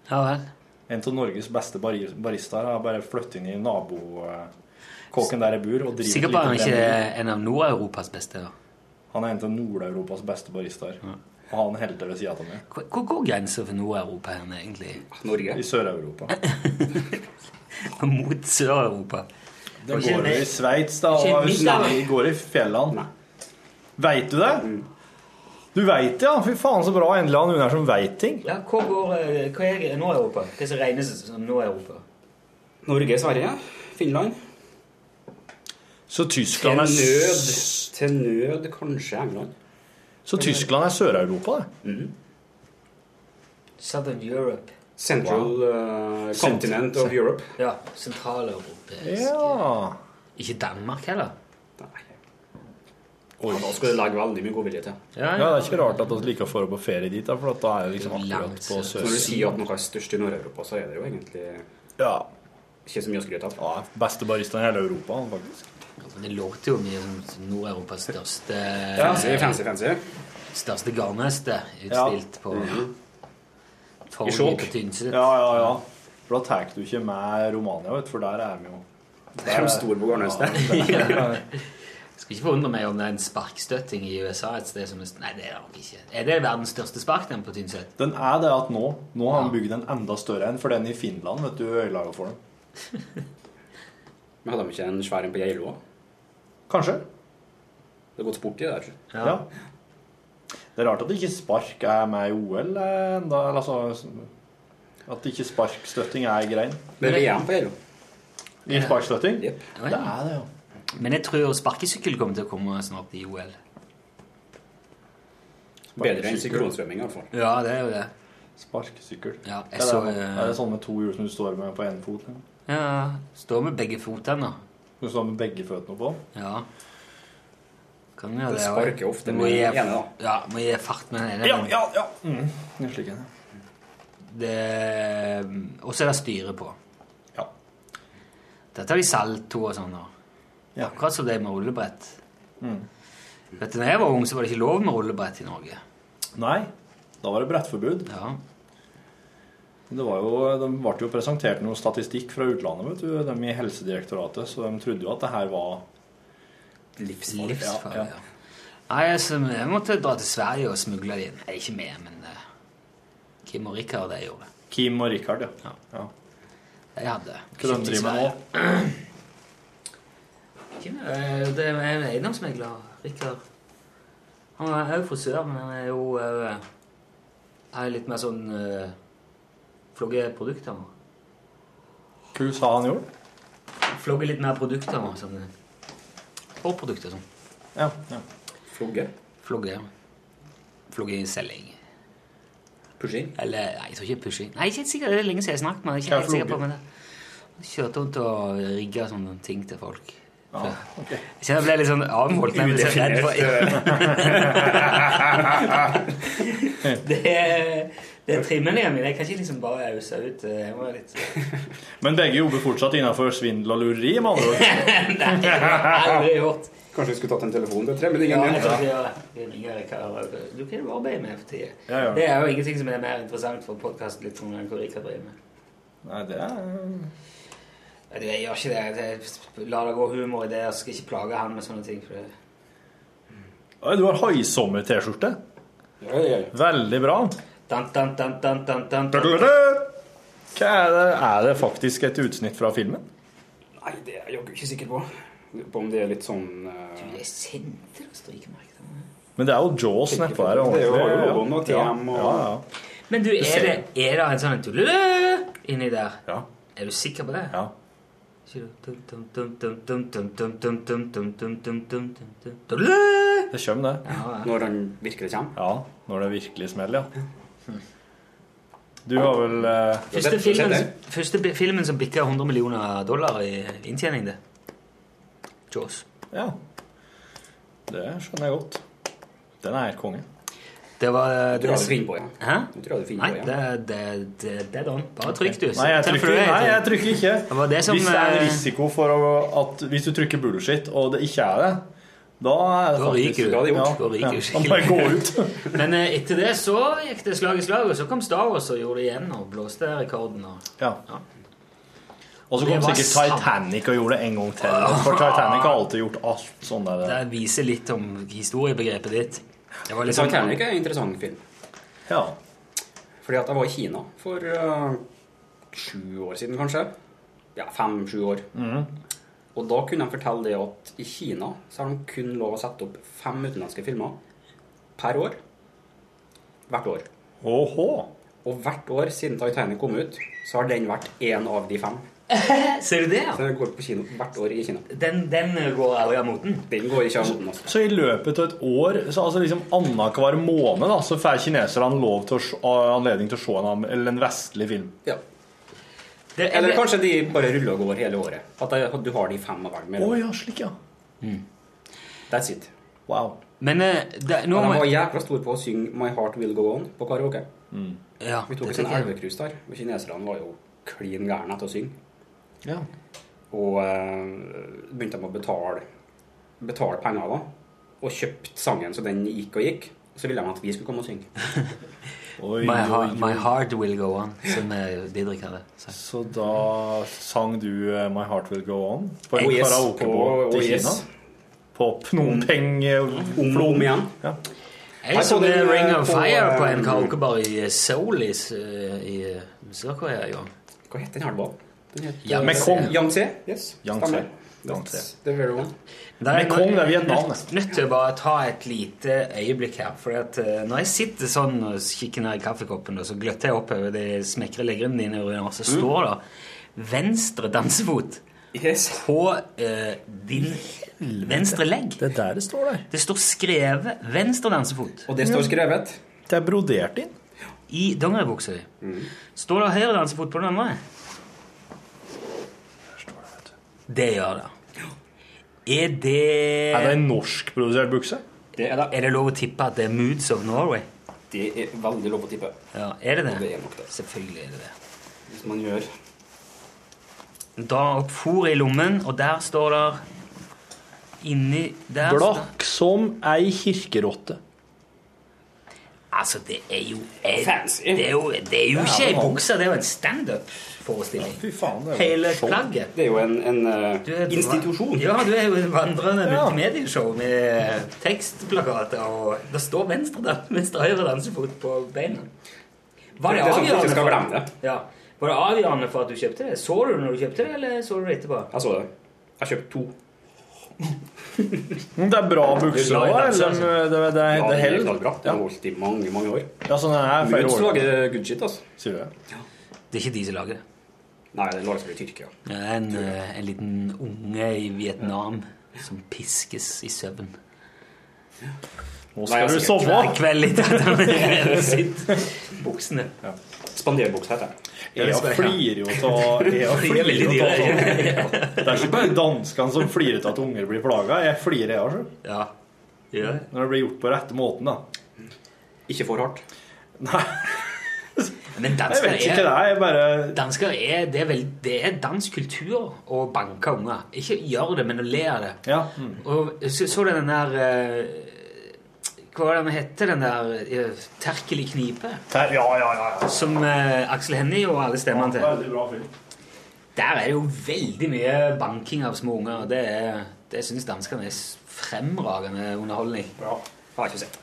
Speaker 2: Ja vel.
Speaker 3: En av Norges beste bari- baristaer har bare flyttet inn i nabokåken der jeg bor. og driver
Speaker 2: Sikkert
Speaker 3: litt
Speaker 2: bare han
Speaker 3: med
Speaker 2: ikke
Speaker 3: den.
Speaker 2: er en av Nord-Europas beste. da.
Speaker 3: Han er en av Nord-Europas beste baristaer. Og han helter ved sida av meg.
Speaker 2: Hvor hvor går grensa for Nord-Europa hen, egentlig?
Speaker 13: Norge.
Speaker 3: I Sør-Europa.
Speaker 2: Mot Sør-Europa.
Speaker 3: Det
Speaker 2: Og ikke
Speaker 3: går jo i
Speaker 2: med-
Speaker 3: Sveits, da.
Speaker 2: ikke
Speaker 3: Og
Speaker 2: midt, da.
Speaker 3: Sverige går i fjellene. Veit du det? Du veit det, ja! Fy faen, så bra endelig han hun er som veit ting.
Speaker 2: Ja, hva, går, eh, hva er Nord-Europa? Hva som regnes som Nord-Europa?
Speaker 13: Norge, Sverige, Finland.
Speaker 3: Så
Speaker 13: Til
Speaker 3: Tyskland er
Speaker 13: nød, til nød kanskje England.
Speaker 3: Så Tyskland er Sør-Europa, det.
Speaker 2: Southern Europe.
Speaker 13: Central eh, Continent of Europe.
Speaker 2: Ja, sentraleuropeisk.
Speaker 3: Ja.
Speaker 2: Ikke Danmark heller.
Speaker 13: Ja, da skulle det legge veldig mye godvilje til.
Speaker 3: ja, det er ikke rart at vi liker å få på ferie dit, da, for at da er det liksom akkurat på
Speaker 13: Så når du sier at
Speaker 3: sørsiden.
Speaker 13: noe er størst i Nord-Europa, så er det jo egentlig
Speaker 3: Ja.
Speaker 13: ikke så mye å skryte av.
Speaker 3: ja. Beste barista i hele Europa, han, faktisk.
Speaker 2: Det låter jo mye som Nord-Europas største
Speaker 13: Fancy, fancy, fancy.
Speaker 2: Største garnnøste utstilt på
Speaker 3: Mm. I
Speaker 2: torget
Speaker 3: sjokk.
Speaker 2: på Tynset.
Speaker 3: Ja, ja, ja. For da tar du ikke med Romania, vet du, for der er vi jo
Speaker 13: Det er jo stor på garnnøstet.
Speaker 2: Skal ikke forundre meg om det er en sparkstøtting i USA et sted som er st- Nei, det er det nok ikke. Er det verdens største sparkdem på Tynset?
Speaker 3: Den er det at nå Nå har han bygd en enda større en, for den i Finland vet du, øyelaga for den.
Speaker 13: Men hadde de ikke en svær en på Geilo òg?
Speaker 3: Kanskje.
Speaker 13: Det har gått sport i det der.
Speaker 3: Ja. Det er rart at ikke spark er med i OL eh, enda, eller altså At ikke sparkstøtting er greien.
Speaker 13: Men VM på Geilo.
Speaker 3: I sparkstøtting?
Speaker 13: Jep.
Speaker 3: Det er det, jo.
Speaker 2: Men jeg tror sparkesykkel kommer til å komme snart i OL.
Speaker 13: Bedre enn synkronsvømming, i hvert fall.
Speaker 2: Ja, det er jo det.
Speaker 3: Sparkesykkel.
Speaker 2: Ja,
Speaker 3: Det
Speaker 2: jeg
Speaker 3: er,
Speaker 2: så
Speaker 3: det,
Speaker 2: eh,
Speaker 3: er det sånn med to hjul som du står med på én fot? liksom?
Speaker 2: Ja, står med begge fotene.
Speaker 3: Du står med begge føttene på?
Speaker 2: Ja. Kan vi gjøre
Speaker 13: Det
Speaker 2: det? også?
Speaker 13: sparker ofte
Speaker 2: Du må
Speaker 13: med
Speaker 2: gi-
Speaker 13: den ene, da.
Speaker 2: Ja, må gi fart med den ene. men
Speaker 3: ja, ja. Mm. Det er slik jeg er.
Speaker 2: det- eh, Og så er det styre på.
Speaker 3: Ja.
Speaker 2: Dette har de salto og sånn. da.
Speaker 3: Ja.
Speaker 2: Akkurat som det med rullebrett.
Speaker 3: Mm.
Speaker 2: Vet du, når jeg var ung, så var det ikke lov med rullebrett i Norge.
Speaker 3: Nei, da var det brettforbud.
Speaker 2: Ja.
Speaker 3: Det var jo, de ble jo presentert noe statistikk fra utlandet, vet du, de i Helsedirektoratet, så de trodde jo at det her var
Speaker 13: Livsfarlig.
Speaker 2: Livsfarlig.
Speaker 3: ja.
Speaker 2: Ja, Nei, altså, jeg måtte dra til Sverige og smugle det inn. Nei, ikke med, men eh, Kim og Rikard de gjorde det.
Speaker 3: Kim og Richard, ja.
Speaker 2: Ja.
Speaker 3: Ja.
Speaker 2: Jeg hadde.
Speaker 3: Hva de driver med nå?
Speaker 2: Kim, eh, det er en eiendomsmegler. Rikard Han er òg frisør, men han er jo eh, er litt mer sånn uh, Flogger produkter.
Speaker 4: Hva sa han gjorde?
Speaker 2: Flogger litt mer produkter. Sånn, og produkter, sånn.
Speaker 4: Ja, ja.
Speaker 13: Flogge?
Speaker 2: Flogge. Flogge i selging.
Speaker 13: Pushing?
Speaker 2: Eller, nei, jeg tror ikke pushing. Nei, jeg er ikke helt sikker. Det er lenge siden jeg har snakket med ham. Jeg er Ja, ikke helt sikker på flogge. men det. Kjørte rundt og rigga sånne ting til folk.
Speaker 4: Ja,
Speaker 2: Så- Jeg kjenner jeg ble litt sånn avmålt, men jeg ble så redd for Det er, det er trimmene mine. Jeg kan ikke liksom bare ause ut. Jeg må være litt
Speaker 4: Men begge jobber fortsatt innenfor svindel og lureri, med andre ord.
Speaker 2: Nei, det har jeg aldri gjort.
Speaker 13: Kanskje vi skulle tatt en telefon til tre, men
Speaker 2: Ja,
Speaker 13: ingen
Speaker 2: jeg tror ikke
Speaker 13: nevnte det.
Speaker 2: jeg gjør det. Det er ingen jeg kan gjøre. Du kan jo arbeide med for tida.
Speaker 4: Ja, ja.
Speaker 2: Det er jo ingenting som er mer interessant for podkasten litt sånn enn hvor Rikard driver med.
Speaker 4: Nei, det er
Speaker 2: Ja, det- Jeg gjør ikke det. det. La det gå humor i det. Jeg skal ikke plage han med sånne ting. For det.
Speaker 4: Oi, Du har høysommer-T-skjorte. Veldig bra.
Speaker 2: Dun, dun, dun, dun, dun, dun,
Speaker 4: Hva
Speaker 2: dun.
Speaker 4: er det? Er det faktisk et utsnitt fra filmen?
Speaker 13: Nei, det er jeg jaggu ikke sikker på. Lurer på om det er litt sånn eh,
Speaker 2: Jeg sendte det strykemerket.
Speaker 4: Men det er jo Jaws nedpå her.
Speaker 13: Det er jo
Speaker 4: ordentlig. Ja.
Speaker 13: logoen og TM og-
Speaker 4: Ja, ja, ja.
Speaker 2: Men du, er
Speaker 4: ser
Speaker 2: det, er det en sånn tulelø inni der?
Speaker 4: Ja.
Speaker 2: Er du sikker på det?
Speaker 4: Ja.
Speaker 2: Sier du dum, dum, dum, dum, dum, dum, dum, dum, dum, dum, dum, dum, dum, dum, dum. Tulelø!
Speaker 4: Det kommer, det.
Speaker 2: Ja, ja.
Speaker 13: Når han virkelig kommer.
Speaker 4: Ja, når det virkelig smeller, ja. Du har vel eh,
Speaker 2: Første
Speaker 13: det-
Speaker 2: filmen,
Speaker 13: det er det.
Speaker 2: første bi- filmen som bikka 100 millioner dollar i inntjening, det. Jaws.
Speaker 4: Ja. Det skjønner jeg godt. Den er helt konge.
Speaker 2: Det var eh,
Speaker 13: Du har det fint på, ja.
Speaker 2: Hæ?
Speaker 13: Du tror det er fint
Speaker 2: Nei,
Speaker 13: på, ja.
Speaker 2: det, det, det, det er don. Bare trykk, du.
Speaker 4: Nei, jeg
Speaker 2: Takk for
Speaker 4: trykker,
Speaker 2: det,
Speaker 4: nei, jeg
Speaker 2: Tom.
Speaker 4: trykker ikke.
Speaker 2: Det var det som,
Speaker 4: hvis det er en
Speaker 2: eh,
Speaker 4: risiko for å, at Hvis du trykker bullshit, og det ikke er det, da er det
Speaker 2: Da ryker
Speaker 4: faktisk
Speaker 2: du. Da er det gjort. Da
Speaker 4: Ja,
Speaker 2: ryker
Speaker 4: ja.
Speaker 2: du
Speaker 4: Da må jeg gå ut.
Speaker 2: Men eh, etter det så gikk det slag i slag, og så kom Star Wars og gjorde det igjen og blåste rekorden. Og...
Speaker 4: Ja.
Speaker 2: Ja.
Speaker 4: Og så
Speaker 2: Det
Speaker 4: kom
Speaker 2: var
Speaker 4: sikkert
Speaker 2: sant.
Speaker 4: Titanic og gjorde det en gang til. For Titanic har alltid gjort alt sånn der.
Speaker 2: Det viser litt om historiebegrepet ditt. Det var litt sånn
Speaker 13: Titanic er en interessant film.
Speaker 4: Ja.
Speaker 13: Fordi at jeg var i Kina for eh, sju år siden, kanskje. Ja, fem-sju år.
Speaker 2: Mhm.
Speaker 13: Og da kunne de fortelle det at i Kina så har de kun lov å sette opp fem utenlandske filmer per år. Hvert år.
Speaker 4: Åhå.
Speaker 13: Og hvert år siden Titanic kom ut, så har den vært én av de fem.
Speaker 2: Ser du det?
Speaker 13: Så
Speaker 2: ja?
Speaker 13: den går på kino hvert år i Kina.
Speaker 2: Den, den eh, går aldri av moten.
Speaker 13: Den går ikke av moten. Altså.
Speaker 4: Så i løpet av et år, så altså liksom annenhver måned, da, så får kineserne lov til å se, anledning til å se en, am- eller en vestlig film.
Speaker 13: Ja.
Speaker 2: Det,
Speaker 13: Eller kanskje de bare ruller og går hele året. At de- du har de fem av hver.
Speaker 4: Å
Speaker 13: mellom.
Speaker 4: ja, slik, ja.
Speaker 13: That's it.
Speaker 4: Wow.
Speaker 2: Men eh, det, nå
Speaker 13: Og de
Speaker 2: må
Speaker 13: var jækla store på å synge 'My Heart Will Go On' på karaoke.
Speaker 2: ja,
Speaker 13: Vi tok
Speaker 2: det
Speaker 13: oss en sånn
Speaker 2: tenker jeg.
Speaker 13: elvekrus der, og kineserne var jo klin gærne etter å synge.
Speaker 4: Ja.
Speaker 13: Og eh, begynte de å betale, betale penger da, og kjøpte sangen så den gikk og gikk. Og så ville de at vi skulle komme og synge.
Speaker 4: Oi,
Speaker 2: My,
Speaker 4: oi,
Speaker 2: heart, my heart will go on, som eh, Didrik hadde sagt.
Speaker 4: Så da sang du eh, 'My Heart Will Go On' på en
Speaker 13: Oh, yes,
Speaker 4: karaokebåt
Speaker 13: på- oh,
Speaker 4: i Kina?
Speaker 13: yes.
Speaker 4: På Phnom Penh eh,
Speaker 13: Om og om igjen.
Speaker 4: Mm.
Speaker 13: Her
Speaker 2: Jeg så
Speaker 13: på den,
Speaker 2: Ring of
Speaker 13: på,
Speaker 2: Fire på en
Speaker 13: eh,
Speaker 2: karaokebar i Seoul i, s- i Sør-Korea i gang.
Speaker 13: Hva het den elva? Den het-
Speaker 2: Ja,
Speaker 4: Mekong.
Speaker 13: Yangtze? Yes.
Speaker 4: Yangtze.
Speaker 13: stemmer.
Speaker 4: Yangtze.
Speaker 13: That's the very one.
Speaker 2: Der er jeg
Speaker 4: Mekong
Speaker 2: nø-
Speaker 4: er Vietnam,
Speaker 2: Nødt, nødt til å bare ta et lite øyeblikk her. For at, eh, når jeg sitter sånn og kikker ned i kaffekoppen, og så gløtter jeg opp over de smekre leggene dine, Runar, så står det venstre dansefot
Speaker 13: Yes.
Speaker 2: på eh, din venstre legg.
Speaker 4: Det er der det står der.
Speaker 2: Det står skrevet 'venstre dansefot'
Speaker 13: Og det står skrevet.
Speaker 4: Det er brodert inn.
Speaker 2: i dongeribuksa di. Står det 'høyre dansefot' på den andre? Det gjør det. Er det
Speaker 4: Er det en norskprodusert bukse?
Speaker 13: Det er, da,
Speaker 2: Er det lov å tippe at det er Moods of Norway?
Speaker 13: det er veldig lov å tippe.
Speaker 2: Ja, Er det det?
Speaker 13: Det er nok det.
Speaker 2: Selvfølgelig er det det.
Speaker 13: Hvis man gjør
Speaker 2: Da opp fôret i lommen, og der står der Inni der står-
Speaker 4: Blakk som ei kirkerotte.
Speaker 2: Altså, det er jo en-
Speaker 13: Fancy.
Speaker 2: Det er jo, det er jo
Speaker 4: Ja,
Speaker 2: ikke ei
Speaker 4: det var-
Speaker 2: bukse, det er jo en standup-forestilling.
Speaker 4: Fy faen, det er jo
Speaker 2: Hele
Speaker 4: show.
Speaker 2: plagget.
Speaker 13: Det er jo en, en eh,
Speaker 2: Du er-
Speaker 13: institusjon.
Speaker 2: Ja, du er jo et vandrende
Speaker 4: Ja.
Speaker 2: multimedieshow med tekstplakater, og det står venstre, da, venstre og høyre dansefot på beina. Var det,
Speaker 13: Det er sånn at du ikke
Speaker 2: avgjørende
Speaker 13: skal
Speaker 2: for-
Speaker 13: glemme det.
Speaker 2: Ja. Var det avgjørende for at du kjøpte det? Så du det når du kjøpte det, eller så du det etterpå?
Speaker 13: Jeg så det. Jeg kjøpte to.
Speaker 4: Men Mm, Det er bra bukser òg, eller? Det, det, det, det,
Speaker 13: Ja,
Speaker 4: det
Speaker 13: den er
Speaker 4: holder.
Speaker 13: knallbra. Den har holdt i mange, mange år.
Speaker 4: Ja, sånn er flere
Speaker 13: Moods
Speaker 4: år.
Speaker 13: lager good shit, altså.
Speaker 4: Sier du det?
Speaker 2: Det er ikke de som lager det.
Speaker 13: Nei, den lages vel i Tyrkia.
Speaker 2: Det er en, eh, en liten unge i Vietnam som piskes i søvn.
Speaker 4: Nå
Speaker 13: skal du sove.
Speaker 2: Hver kveld litt etter med sitt. Buksene.
Speaker 13: Spanderbukse heter den.
Speaker 4: Jeg flirer jo av Jeg flirer jo til å- Det er ikke bare danskene som flirer til at unger blir plaga. Jeg flirer, jeg òg,
Speaker 2: Ja. Ja.
Speaker 4: Når det blir gjort på rette måten, da.
Speaker 13: Ikke for hardt.
Speaker 2: Men
Speaker 4: Jeg
Speaker 2: dansker
Speaker 4: vet ikke det,
Speaker 2: er,
Speaker 4: jeg bare
Speaker 2: dansker er, det er, vel, det er dansk kultur å banke unger. Ikke gjør det, men å le av det.
Speaker 4: Ja. Mm.
Speaker 2: Og så, så du den der eh, Hva var det den hette, den der eh, Terkel i knipe?
Speaker 4: Der, ja, ja, ja. ja.
Speaker 2: Som eh, Aksel Hennie og alle stemmene til.
Speaker 4: Veldig bra film.
Speaker 2: Der er det jo veldig mye banking av små unger. og Det, er- det syns danskene er s- fremragende underholdning.
Speaker 4: Ja.
Speaker 13: Har ikke sett.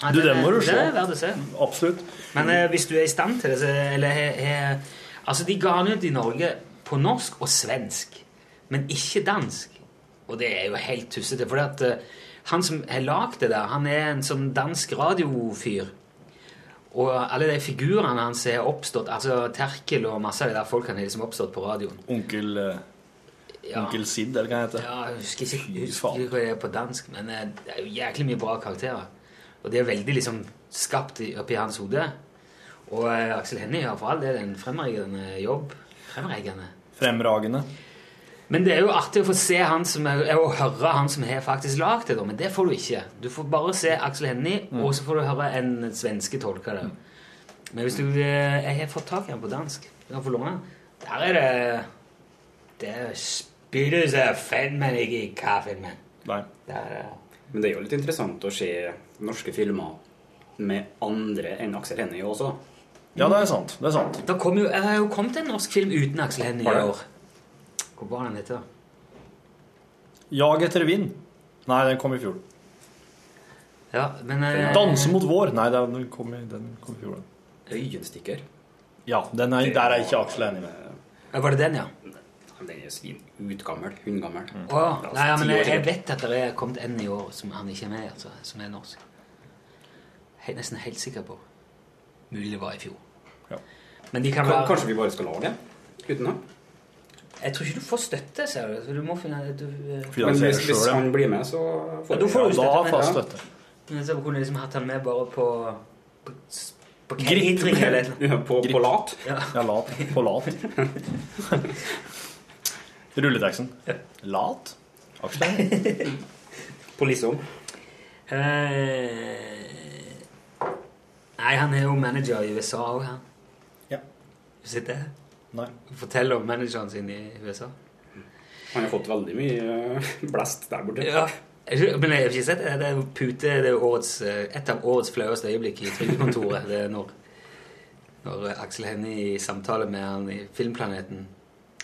Speaker 2: Ja,
Speaker 4: Du,
Speaker 2: det
Speaker 4: den må
Speaker 2: er-
Speaker 4: du se.
Speaker 2: Det er verdt å se.
Speaker 4: Absolutt.
Speaker 2: Men eh, hvis du er i stand til det, så eller, he, he, Altså, de ga den ut i Norge på norsk og svensk, men ikke dansk. Og det er jo helt tussete. For at, eh, han som har lagd det der, han er en sånn dansk radiofyr. Og alle de figurene hans er oppstått, altså Terkel og masse av de der folkene er liksom oppstått på radioen.
Speaker 4: Onkel, eh,
Speaker 2: Ja.
Speaker 4: onkel Sid, eller hva han heter.
Speaker 2: Ja, jeg husker ikke, jeg
Speaker 4: faen.
Speaker 2: husker ikke hva det er på dansk, men eh, det er jo jæklig mye bra karakterer. Og det er veldig liksom skapt i- oppi hans hode. Og eh, Aksel Hennie gjør for all del en fremragende jobb. Fremragende.
Speaker 4: Fremragende.
Speaker 2: Men det er jo artig å få se han som er, er å høre han som har faktisk lagd det, da. Men det får du ikke. Du får bare se Aksel Hennie, og så får du høre en svenske tolke det. Men hvis du eh, Jeg har fått tak i han på dansk. Du kan få låne han. Der er det Der spyr du seg faen meg ikke i kaffen, men.
Speaker 4: Nei.
Speaker 2: Der, eh,
Speaker 13: Men det er jo litt interessant å se norske filmer med andre enn Aksel Hennie også.
Speaker 4: Ja, det er sant. Det er sant.
Speaker 2: Da kom jo, jeg har jo kommet en norsk film uten Aksel Hennie i år. Hvor var den heter da?
Speaker 4: Jag etter vind. Nei, den kom i fjor.
Speaker 2: Ja, men eh,
Speaker 4: Danse mot vår. Nei, den kom i, den kom i fjor. den.
Speaker 13: Øyenstikker.
Speaker 4: Ja, den er, der er ikke Aksel enig med.
Speaker 2: ja, Var det den, ja?
Speaker 13: Men Den er jo svin utgammel. Hundgammel. altså,
Speaker 2: Å, nei, ja, men
Speaker 13: ti år
Speaker 2: jeg, jeg
Speaker 13: siden.
Speaker 2: vet at det er kommet en i år som han ikke er med i, altså, som er norsk. Jeg er nesten helt sikker på. Mulig det var i fjor.
Speaker 4: Ja.
Speaker 2: Men de kan
Speaker 13: Kan-
Speaker 2: være
Speaker 13: Kanskje vi bare skal lage en uten ham?
Speaker 2: Jeg tror ikke du får støtte, ser du. Så du må finne du, eh,
Speaker 13: Men
Speaker 4: Finansiere
Speaker 13: hvis, hvis
Speaker 4: selv, ja.
Speaker 13: han blir med, så
Speaker 2: Ja,
Speaker 13: får
Speaker 2: da
Speaker 13: vi
Speaker 2: får du
Speaker 4: Da
Speaker 2: støtte.
Speaker 4: har
Speaker 2: men-
Speaker 4: fast støtte.
Speaker 2: Men så kunne du liksom hatt han med bare på På, på
Speaker 4: Grip.
Speaker 2: catering eller et eller annet.
Speaker 13: Ja, på, på lat.
Speaker 4: Ja, lat. På lat. Rulleteksten. Lat? Aksel enig.
Speaker 13: På liksom.
Speaker 2: Eh, Nei, han er jo manager i USA òg, han.
Speaker 4: Ja.
Speaker 2: Du sitter her
Speaker 4: Nei.
Speaker 2: og forteller om manageren sin i USA.
Speaker 13: Han har fått veldig mye eh, blest der borte.
Speaker 2: Ja. Jeg tror- Men jeg har ikke sett det. Det er jo pute, det er jo årets, eh, et av årets flaueste øyeblikk i Trygdekontoret. Det er når, når eh, Aksel Hennie i samtale med han i Filmplaneten,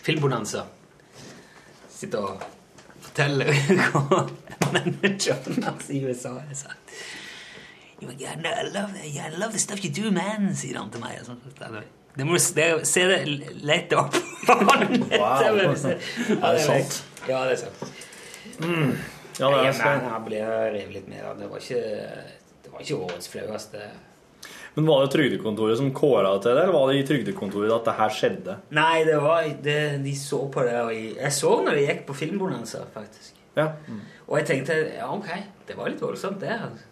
Speaker 2: Filmbonanza, sitter og forteller hva manageren hans i USA har sagt. You know, yeah, no, I love, that. yeah, I love the stuff you do, man, sier han til meg. og sånn. Det må du s- det, se det lett opp. ja, det er sant. Ja, det er sant.
Speaker 4: Ja, det
Speaker 2: Nei,
Speaker 4: er
Speaker 2: men
Speaker 4: sant.
Speaker 2: her ble jeg revet litt med. da. Det var ikke, det var ikke årets flaueste
Speaker 4: Men var det Trygdekontoret som kåra til det, eller var det i Trygdekontoret at det her skjedde?
Speaker 2: Nei, det var det, de så på det. Og jeg, jeg så når de gikk på Filmbonanza, faktisk.
Speaker 4: Ja.
Speaker 2: Og jeg tenkte ja, ok, det var litt voldsomt, det. altså.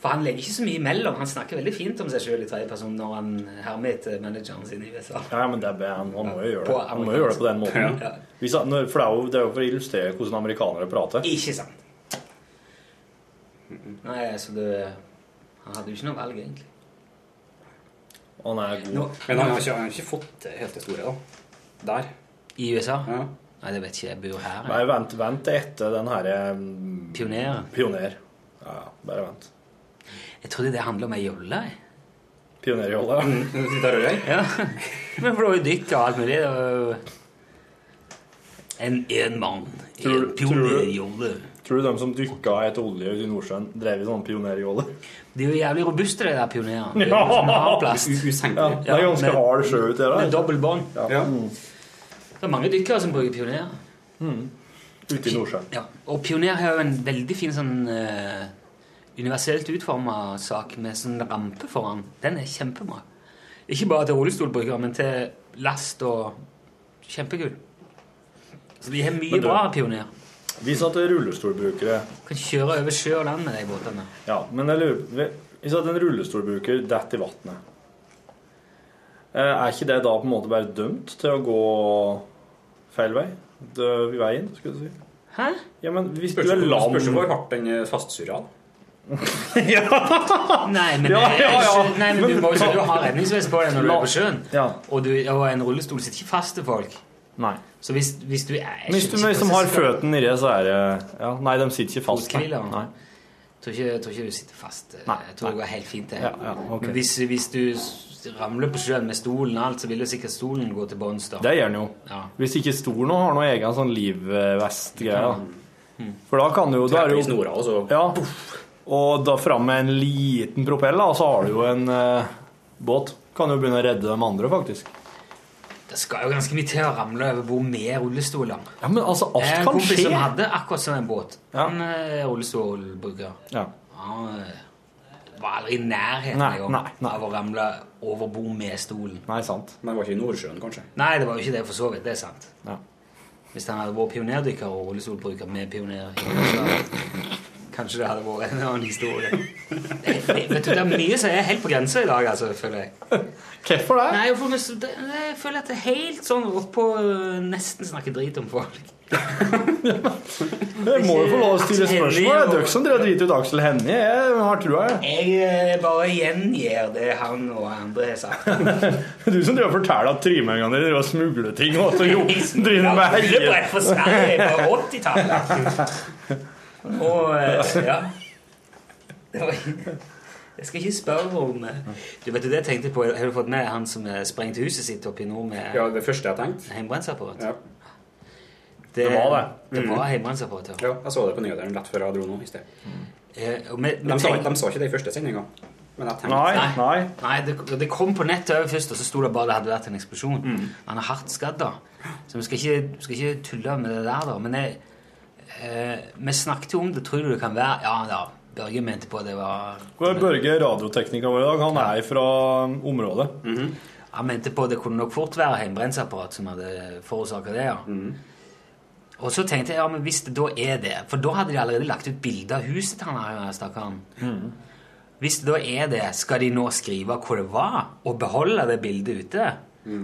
Speaker 2: For han legger ikke så mye imellom. Han snakker veldig fint om seg sjøl i tredje person når han hermer etter manageren sin i USA.
Speaker 4: Ja, men det er, han, han må jo gjøre det.
Speaker 2: På
Speaker 4: Han må jo gjøre det på den måten.
Speaker 2: Ja.
Speaker 4: Hvis han, når- for det er, jo, det er jo for å illustrere hvordan amerikanere prater.
Speaker 2: Ikke sant? Nei, så det Han hadde jo ikke noe valg, egentlig.
Speaker 4: Han er god.
Speaker 2: Nå-
Speaker 13: Men han har ikke, han har ikke fått det helt det store, da. Der.
Speaker 2: I USA?
Speaker 13: Ja.
Speaker 2: Nei, det vet ikke jeg. Jeg bor her.
Speaker 4: Nei, vent, vent til etter den herre mm,
Speaker 2: Pionerer.
Speaker 4: Pioner. Ja, ja, bare vent.
Speaker 2: Jeg trodde det handla om ei jolle. jeg.
Speaker 4: Pionerjolle.
Speaker 2: Mm.
Speaker 4: ja.
Speaker 13: Der er jeg.
Speaker 2: Ja. Men for det var jo dyrt og alt mulig. Det var jo en enmann i
Speaker 4: Tror-
Speaker 2: en pionerjolle.
Speaker 4: Tror du de som dykka etter olje ute i Nordsjøen, drev i sånne pionerjolle?
Speaker 2: De er jo jævlig robuste, de der pionerene. De er
Speaker 4: Ja.
Speaker 2: jo som har plast.
Speaker 13: U-
Speaker 4: Ja,
Speaker 13: Usenkelig.
Speaker 4: det er ganske
Speaker 2: men-
Speaker 4: hard sjø uti
Speaker 2: Med
Speaker 4: der.
Speaker 2: dobbelt bånd.
Speaker 13: Ja.
Speaker 2: Det er mange dykkere som bruker pionerer.
Speaker 4: Ute i Nordsjøen.
Speaker 2: Ja. Og Pioner har jo en veldig fin sånn eh, universelt utforma sak med sånn rampe foran. Den er kjempebra. Ikke bare til rullestolbrukere, men til last og Kjempekul. Så de har mye
Speaker 4: Men du-
Speaker 2: bra Pioner.
Speaker 4: Vis at det er rullestolbrukere.
Speaker 2: Kan kjøre over sjø og land med de båtene.
Speaker 4: Ja, men jeg lurer Hvis at en rullestolbruker detter i vannet, eh, er ikke det da på en måte bare dømt til å gå feil vei? Dø i veien, skulle du si.
Speaker 2: Hæ?
Speaker 4: Ja, men hvis
Speaker 13: Spørs
Speaker 4: du er
Speaker 13: hvor-
Speaker 4: lam
Speaker 13: spørs hvor hardt den eh, er fastsurra.
Speaker 2: Nei, men,
Speaker 13: Ja, ja, ja.
Speaker 2: Nei, men du, må, jo-
Speaker 13: Men-
Speaker 2: du har redningsvest på deg når du er på sjøen.
Speaker 4: Ja.
Speaker 2: Og, du, og en rullestol sitter ikke fast til folk.
Speaker 4: Nei.
Speaker 2: Så hvis, hvis du er
Speaker 4: Hvis du liksom har føttene nedi, så er det ja, Nei, de sitter ikke fast. nei.
Speaker 2: Fothviler.
Speaker 4: Nei.
Speaker 2: Tror ikke, tror ikke du sitter fast. eh, jeg tror det går helt fint. det.
Speaker 4: Ja, ja, ok.
Speaker 2: Men hvis, hvis du s- ramler på sjøen med stolen og alt, så vil jo sikkert stolen gå til bunns. da.
Speaker 4: Det gjør den jo.
Speaker 2: Ja.
Speaker 4: Hvis ikke stor nå har noe egen sånn livvest-greie.
Speaker 2: hmm.
Speaker 4: da. For da kan du jo da er
Speaker 13: Trekker
Speaker 4: det
Speaker 13: i snora, og så
Speaker 4: Ja. Og da fram med en liten propell, da, og så har du jo en eh, båt. Kan jo begynne å redde de andre, faktisk.
Speaker 2: Det skal jo ganske mye til å ramle over bord med rullestoler.
Speaker 4: Ja, men altså, alt
Speaker 2: Jeg har en
Speaker 4: kan
Speaker 2: kompis
Speaker 4: skje.
Speaker 2: som hadde akkurat som en båt. Han er rullestolbruker.
Speaker 4: Ja.
Speaker 2: Han eh, var aldri i nærheten
Speaker 4: Nei,
Speaker 2: engang
Speaker 4: nei, nei.
Speaker 2: av å ramle over bord med stolen.
Speaker 4: Nei, sant.
Speaker 13: Men det var ikke i Nordsjøen, kanskje?
Speaker 2: Nei, det var jo ikke det for så vidt. Det er sant.
Speaker 4: Ja.
Speaker 2: Hvis han hadde vært pionerdykker og rullestolbruker med pionerer, så kanskje det hadde vært en annen historie. Det- det- Vet du, Det er mye som er helt på grensa i dag, altså, føler jeg.
Speaker 4: Hvorfor det?
Speaker 2: Nei, jeg får nesten- det- Jeg føler at det er helt sånn oppå øh, Nesten snakker drit om folk.
Speaker 4: Jeg må jo få lov å stille
Speaker 2: Aksel Hennie
Speaker 4: spørsmål. Det er
Speaker 2: og-
Speaker 4: dere som drar drit ut Aksel Hennie. Jeg har trua, jeg.
Speaker 2: Jeg øh, bare gjengir det han og andre har sagt.
Speaker 4: Du som driver og forteller at trimengene dine driver og smugler ting og så jo, driver med
Speaker 2: Rullebrett for Sverige
Speaker 4: helge.
Speaker 2: på 80-tallet. Og eh, ja. Det var, jeg skal ikke spørre om eh, Du vet du det jeg tenkte på? Har du fått med han som eh, sprengte huset sitt oppe i nord med
Speaker 13: Ja, det første jeg tenkte.
Speaker 2: heimbrensapparat?
Speaker 13: Ja.
Speaker 2: Det,
Speaker 13: var det.
Speaker 2: Det
Speaker 13: Mm.
Speaker 2: var heimbrensapparat, ja.
Speaker 13: Ja, jeg så det på nyhetene rett før jeg dro nå i sted.
Speaker 2: Eh, og vi- vi
Speaker 13: De sa,
Speaker 2: tenkte-
Speaker 13: de sa ikke det i første sendinga, men jeg tenkte
Speaker 4: Nei, nei.
Speaker 2: Nei, det, det kom på nettet over først, og så sto det bare det hadde vært en eksplosjon.
Speaker 4: Mm.
Speaker 2: Han er hardt skadd, da. Så vi skal ikke, vi skal ikke tulle med det der, da. Men jeg, eh, vi snakket jo om det. Tror du det kan være Ja da, Børge mente på det var
Speaker 4: Hvor er Børge, radioteknikeren vår i dag, han er fra um, området.
Speaker 2: Mm. Han mente på det kunne nok fort være heimbrensapparat som hadde forårsaka det, ja. Og så tenkte jeg ja, men hvis det da er det For da hadde de allerede lagt ut bilde av huset til han her, stakkaren. Hvis det da er det, skal de nå skrive hvor det var, og beholde det bildet ute?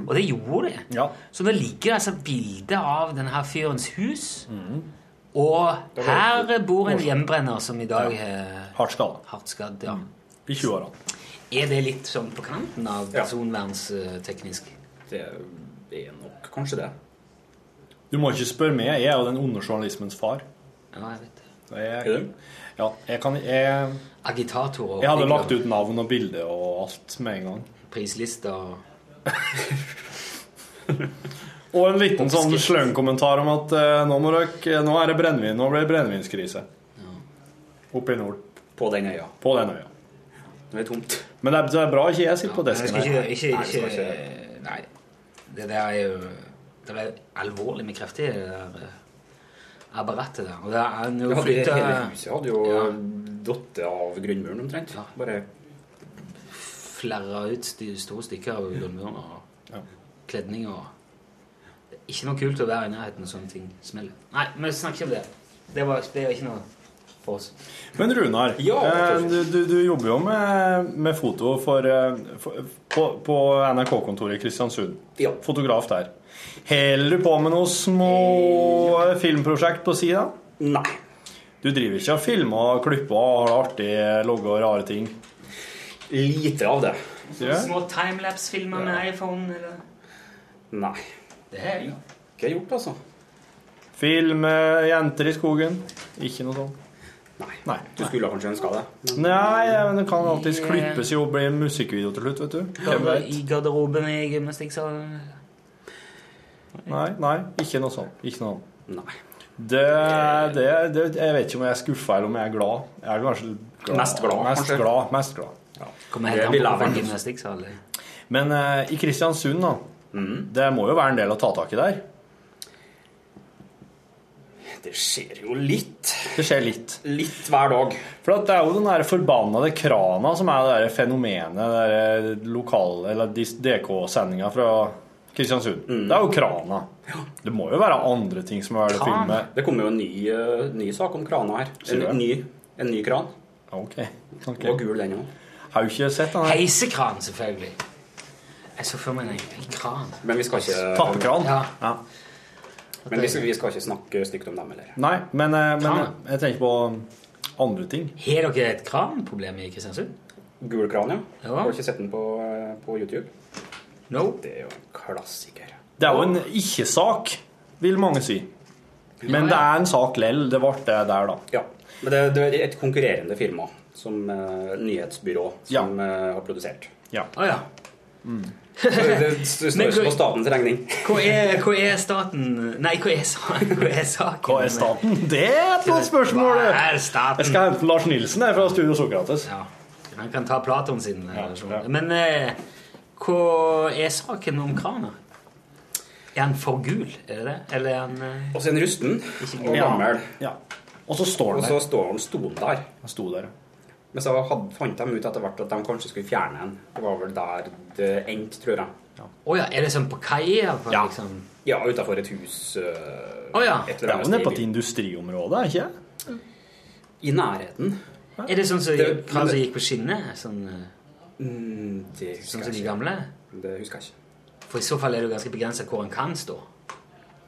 Speaker 2: Og det gjorde de.
Speaker 4: Ja.
Speaker 2: Så nå ligger det altså bilde av denne her fyrens hus. Og her bor en hjembrenner som i dag er
Speaker 4: Hardt skada.
Speaker 2: hardt skadd. Ja.
Speaker 4: I 20-åra.
Speaker 2: Er det litt sånn på kanten av
Speaker 13: Ja.
Speaker 2: personvernsteknisk?
Speaker 13: Det er nok kanskje det.
Speaker 4: Du må ikke spørre meg. Jeg er jo den onde journalismens far.
Speaker 2: Ja, jeg vet det.
Speaker 4: Jeg,
Speaker 13: Er du?
Speaker 4: ja, jeg, kan, jeg,
Speaker 2: Agitatorer.
Speaker 4: jeg hadde lagt ut navn og bilde og alt med en gang.
Speaker 2: Prislister og
Speaker 4: Og en liten sånn sløngkommentar om at eh, nå, må dere, nå er det brennevin. Nå blir det brennevinskrise. Oppe i nord.
Speaker 13: På den øya.
Speaker 4: På den øya.
Speaker 13: Når det er tomt.
Speaker 4: Men det er, det er bra ikke jeg sitter på
Speaker 2: Nei, jeg
Speaker 4: desken.
Speaker 2: skal
Speaker 4: her.
Speaker 2: ikke, ikke,
Speaker 13: Nei, jeg skal
Speaker 2: ikke, Nei. Det der er jo Det er alvorlig med krefter i det der eh, apparatet der. Og det er
Speaker 13: Det
Speaker 2: nå
Speaker 13: hadde,
Speaker 2: flytta
Speaker 13: hele huset hadde jo
Speaker 2: Ja.
Speaker 13: datt av grunnmuren omtrent.
Speaker 2: Ja.
Speaker 13: Bare
Speaker 2: flerra ut sti- store stykker av grunnmuren og
Speaker 4: Ja.
Speaker 2: kledning og Det er ikke noe kult å være i nærheten når sånne ting smeller. Nei, vi snakker ikke om det. Det, var, det er ikke noe for oss.
Speaker 4: Men Runar,
Speaker 13: Ja,
Speaker 4: eh, du, du, du jobber jo med, med foto for, eh, for, på, på NRK-kontoret i Kristiansund.
Speaker 13: Ja.
Speaker 4: Fotograf der. Holder du på med noen små eh, filmprosjekt på sida?
Speaker 13: Nei.
Speaker 4: Du driver ikke og filmer og klipper og har det artig, logger og rare ting?
Speaker 13: Lite av det.
Speaker 4: Sier jeg?
Speaker 2: Små timelapse-filmer med iPhone eller
Speaker 13: Nei.
Speaker 2: Det er jo
Speaker 13: Ikke gjort, altså.
Speaker 4: Filme jenter i skogen? Ikke noe sånt.
Speaker 13: Nei.
Speaker 4: Nei.
Speaker 13: Du skulle kanskje ønska det. Men
Speaker 4: Nei, men det kan alltids klippes jo og bli en musikkvideo til slutt, vet du. Hvem vet?
Speaker 2: I garderoben i gymnastikksalen.
Speaker 4: Nei, nei, ikke noe sånt. Ikke noe sånt.
Speaker 13: nei.
Speaker 4: Det, det, det, jeg vet ikke om jeg er skuffa eller om jeg er glad. Jeg er kanskje glad.
Speaker 13: Mest glad,
Speaker 4: mest
Speaker 13: kanskje.
Speaker 4: glad, mest glad.
Speaker 2: Kommer
Speaker 13: Det
Speaker 2: helt an
Speaker 13: blir
Speaker 2: på
Speaker 13: lavere.
Speaker 2: hvilken gymnastikksal det er.
Speaker 4: Men eh, i Kristiansund,
Speaker 13: Mm.
Speaker 4: da. Det må jo være en del å ta tak i der.
Speaker 13: Det skjer jo litt.
Speaker 4: Det skjer litt.
Speaker 13: Litt hver dag.
Speaker 4: For at det er jo den der forbannede krana som er det der fenomenet, det der lokale, eller DK-sendinga fra Kristiansund.
Speaker 13: Mm.
Speaker 4: Det er jo krana. Det må jo være andre ting som er det å filme.
Speaker 13: Det kommer jo en ny, eh, ny sak om krana her.
Speaker 4: Sier du det?
Speaker 13: En ny, en ny kran.
Speaker 4: Ok.
Speaker 13: Og gul den òg.
Speaker 4: Har jo ikke sett den her.
Speaker 2: Heisekran, selvfølgelig. Jeg så for meg en en kran.
Speaker 13: Men vi skal ikke
Speaker 4: Tappekran.
Speaker 2: Ja.
Speaker 13: Men vi skal, vi skal ikke snakke stygt om dem heller.
Speaker 4: Nei, men, eh, men jeg,
Speaker 2: Krana.
Speaker 4: jeg tenker på andre ting.
Speaker 2: Har dere et kranproblem i Kristiansund?
Speaker 13: Gul kran, ja.
Speaker 2: Ja.
Speaker 13: Har du ikke sett den på, eh, på YouTube?
Speaker 2: No.
Speaker 13: Det er jo en klassiker.
Speaker 4: Det er jo en ikke-sak, vil mange si. Men det er en sak lell. Det ble det der, da.
Speaker 13: Ja. Men det, det er et konkurrerende firma, som eh, nyhetsbyrå, som eh, har produsert.
Speaker 2: Å ja.
Speaker 13: Så Det, det står
Speaker 2: Men
Speaker 13: ikke
Speaker 2: hvor-
Speaker 13: på statens regning.
Speaker 2: Hva er, hva er staten Nei, hva er, sa- hva er saken?
Speaker 4: Hva er staten? Det er et godt spørsmål!
Speaker 2: Hva
Speaker 4: det.
Speaker 2: er
Speaker 4: Jeg
Speaker 2: staten?
Speaker 4: skal hente Lars Nilsen her fra Studio Sokrates.
Speaker 2: Ja, Han kan ta Platon sin eh,
Speaker 4: Ja,
Speaker 2: versjon.
Speaker 4: ja.
Speaker 2: Men eh, hva er saken om krana? Er han for gul? Er det det? Eller er han eh,
Speaker 13: Og så er den rusten og
Speaker 4: Ja.
Speaker 13: gammel.
Speaker 4: Ja. Og så står
Speaker 13: Og
Speaker 4: den
Speaker 13: så
Speaker 4: der.
Speaker 13: står den stolen der.
Speaker 4: Han sto der.
Speaker 13: Men så hadde, fant de ut etter hvert at de kanskje skulle fjerne den. Det var vel der det endte, tror jeg.
Speaker 2: Å ja, er det sånn på kaia?
Speaker 13: Ja.
Speaker 2: Ja. Liksom?
Speaker 13: Ja, utafor et hus. øh,
Speaker 2: Å ja.
Speaker 13: et
Speaker 4: Det er
Speaker 13: eller annet
Speaker 4: jo nede på et
Speaker 13: sted i byen.
Speaker 4: industriområde, er ikke det?
Speaker 13: I nærheten.
Speaker 2: Er det sånn som
Speaker 13: Det-
Speaker 2: kran som gikk på skinnet? Sånn, eh,
Speaker 13: Mm, det
Speaker 2: sånn
Speaker 13: husker
Speaker 2: som de
Speaker 13: jeg ikke.
Speaker 2: gamle?
Speaker 13: Det husker jeg ikke.
Speaker 2: For i så fall er det jo ganske begrenset hvor han kan stå.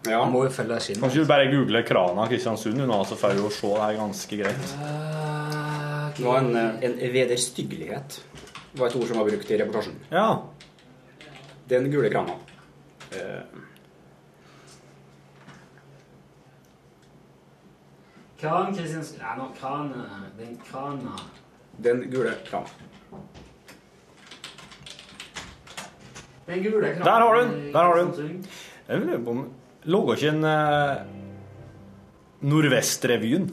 Speaker 13: Ja,
Speaker 2: Han må jo følge skinnet.
Speaker 4: Kanskje du bare googler krana Kristiansund, nå, så får du jo se det her ganske greit.
Speaker 2: Ah,
Speaker 13: det var en, øh, en vederstyggelighet. Det var et ord som var brukt i reportasjen.
Speaker 4: Ja.
Speaker 13: Den gule krana. Eh,
Speaker 2: Kran Kristiansund Nei, nå, kran eh, Den krana
Speaker 13: Den gule krana.
Speaker 2: Den gule krana
Speaker 4: Der har du den,
Speaker 2: i
Speaker 4: der har du den.
Speaker 2: Kristiansund.
Speaker 4: Jeg lurer på om Lå ikke en eh, Nordvestrevyen?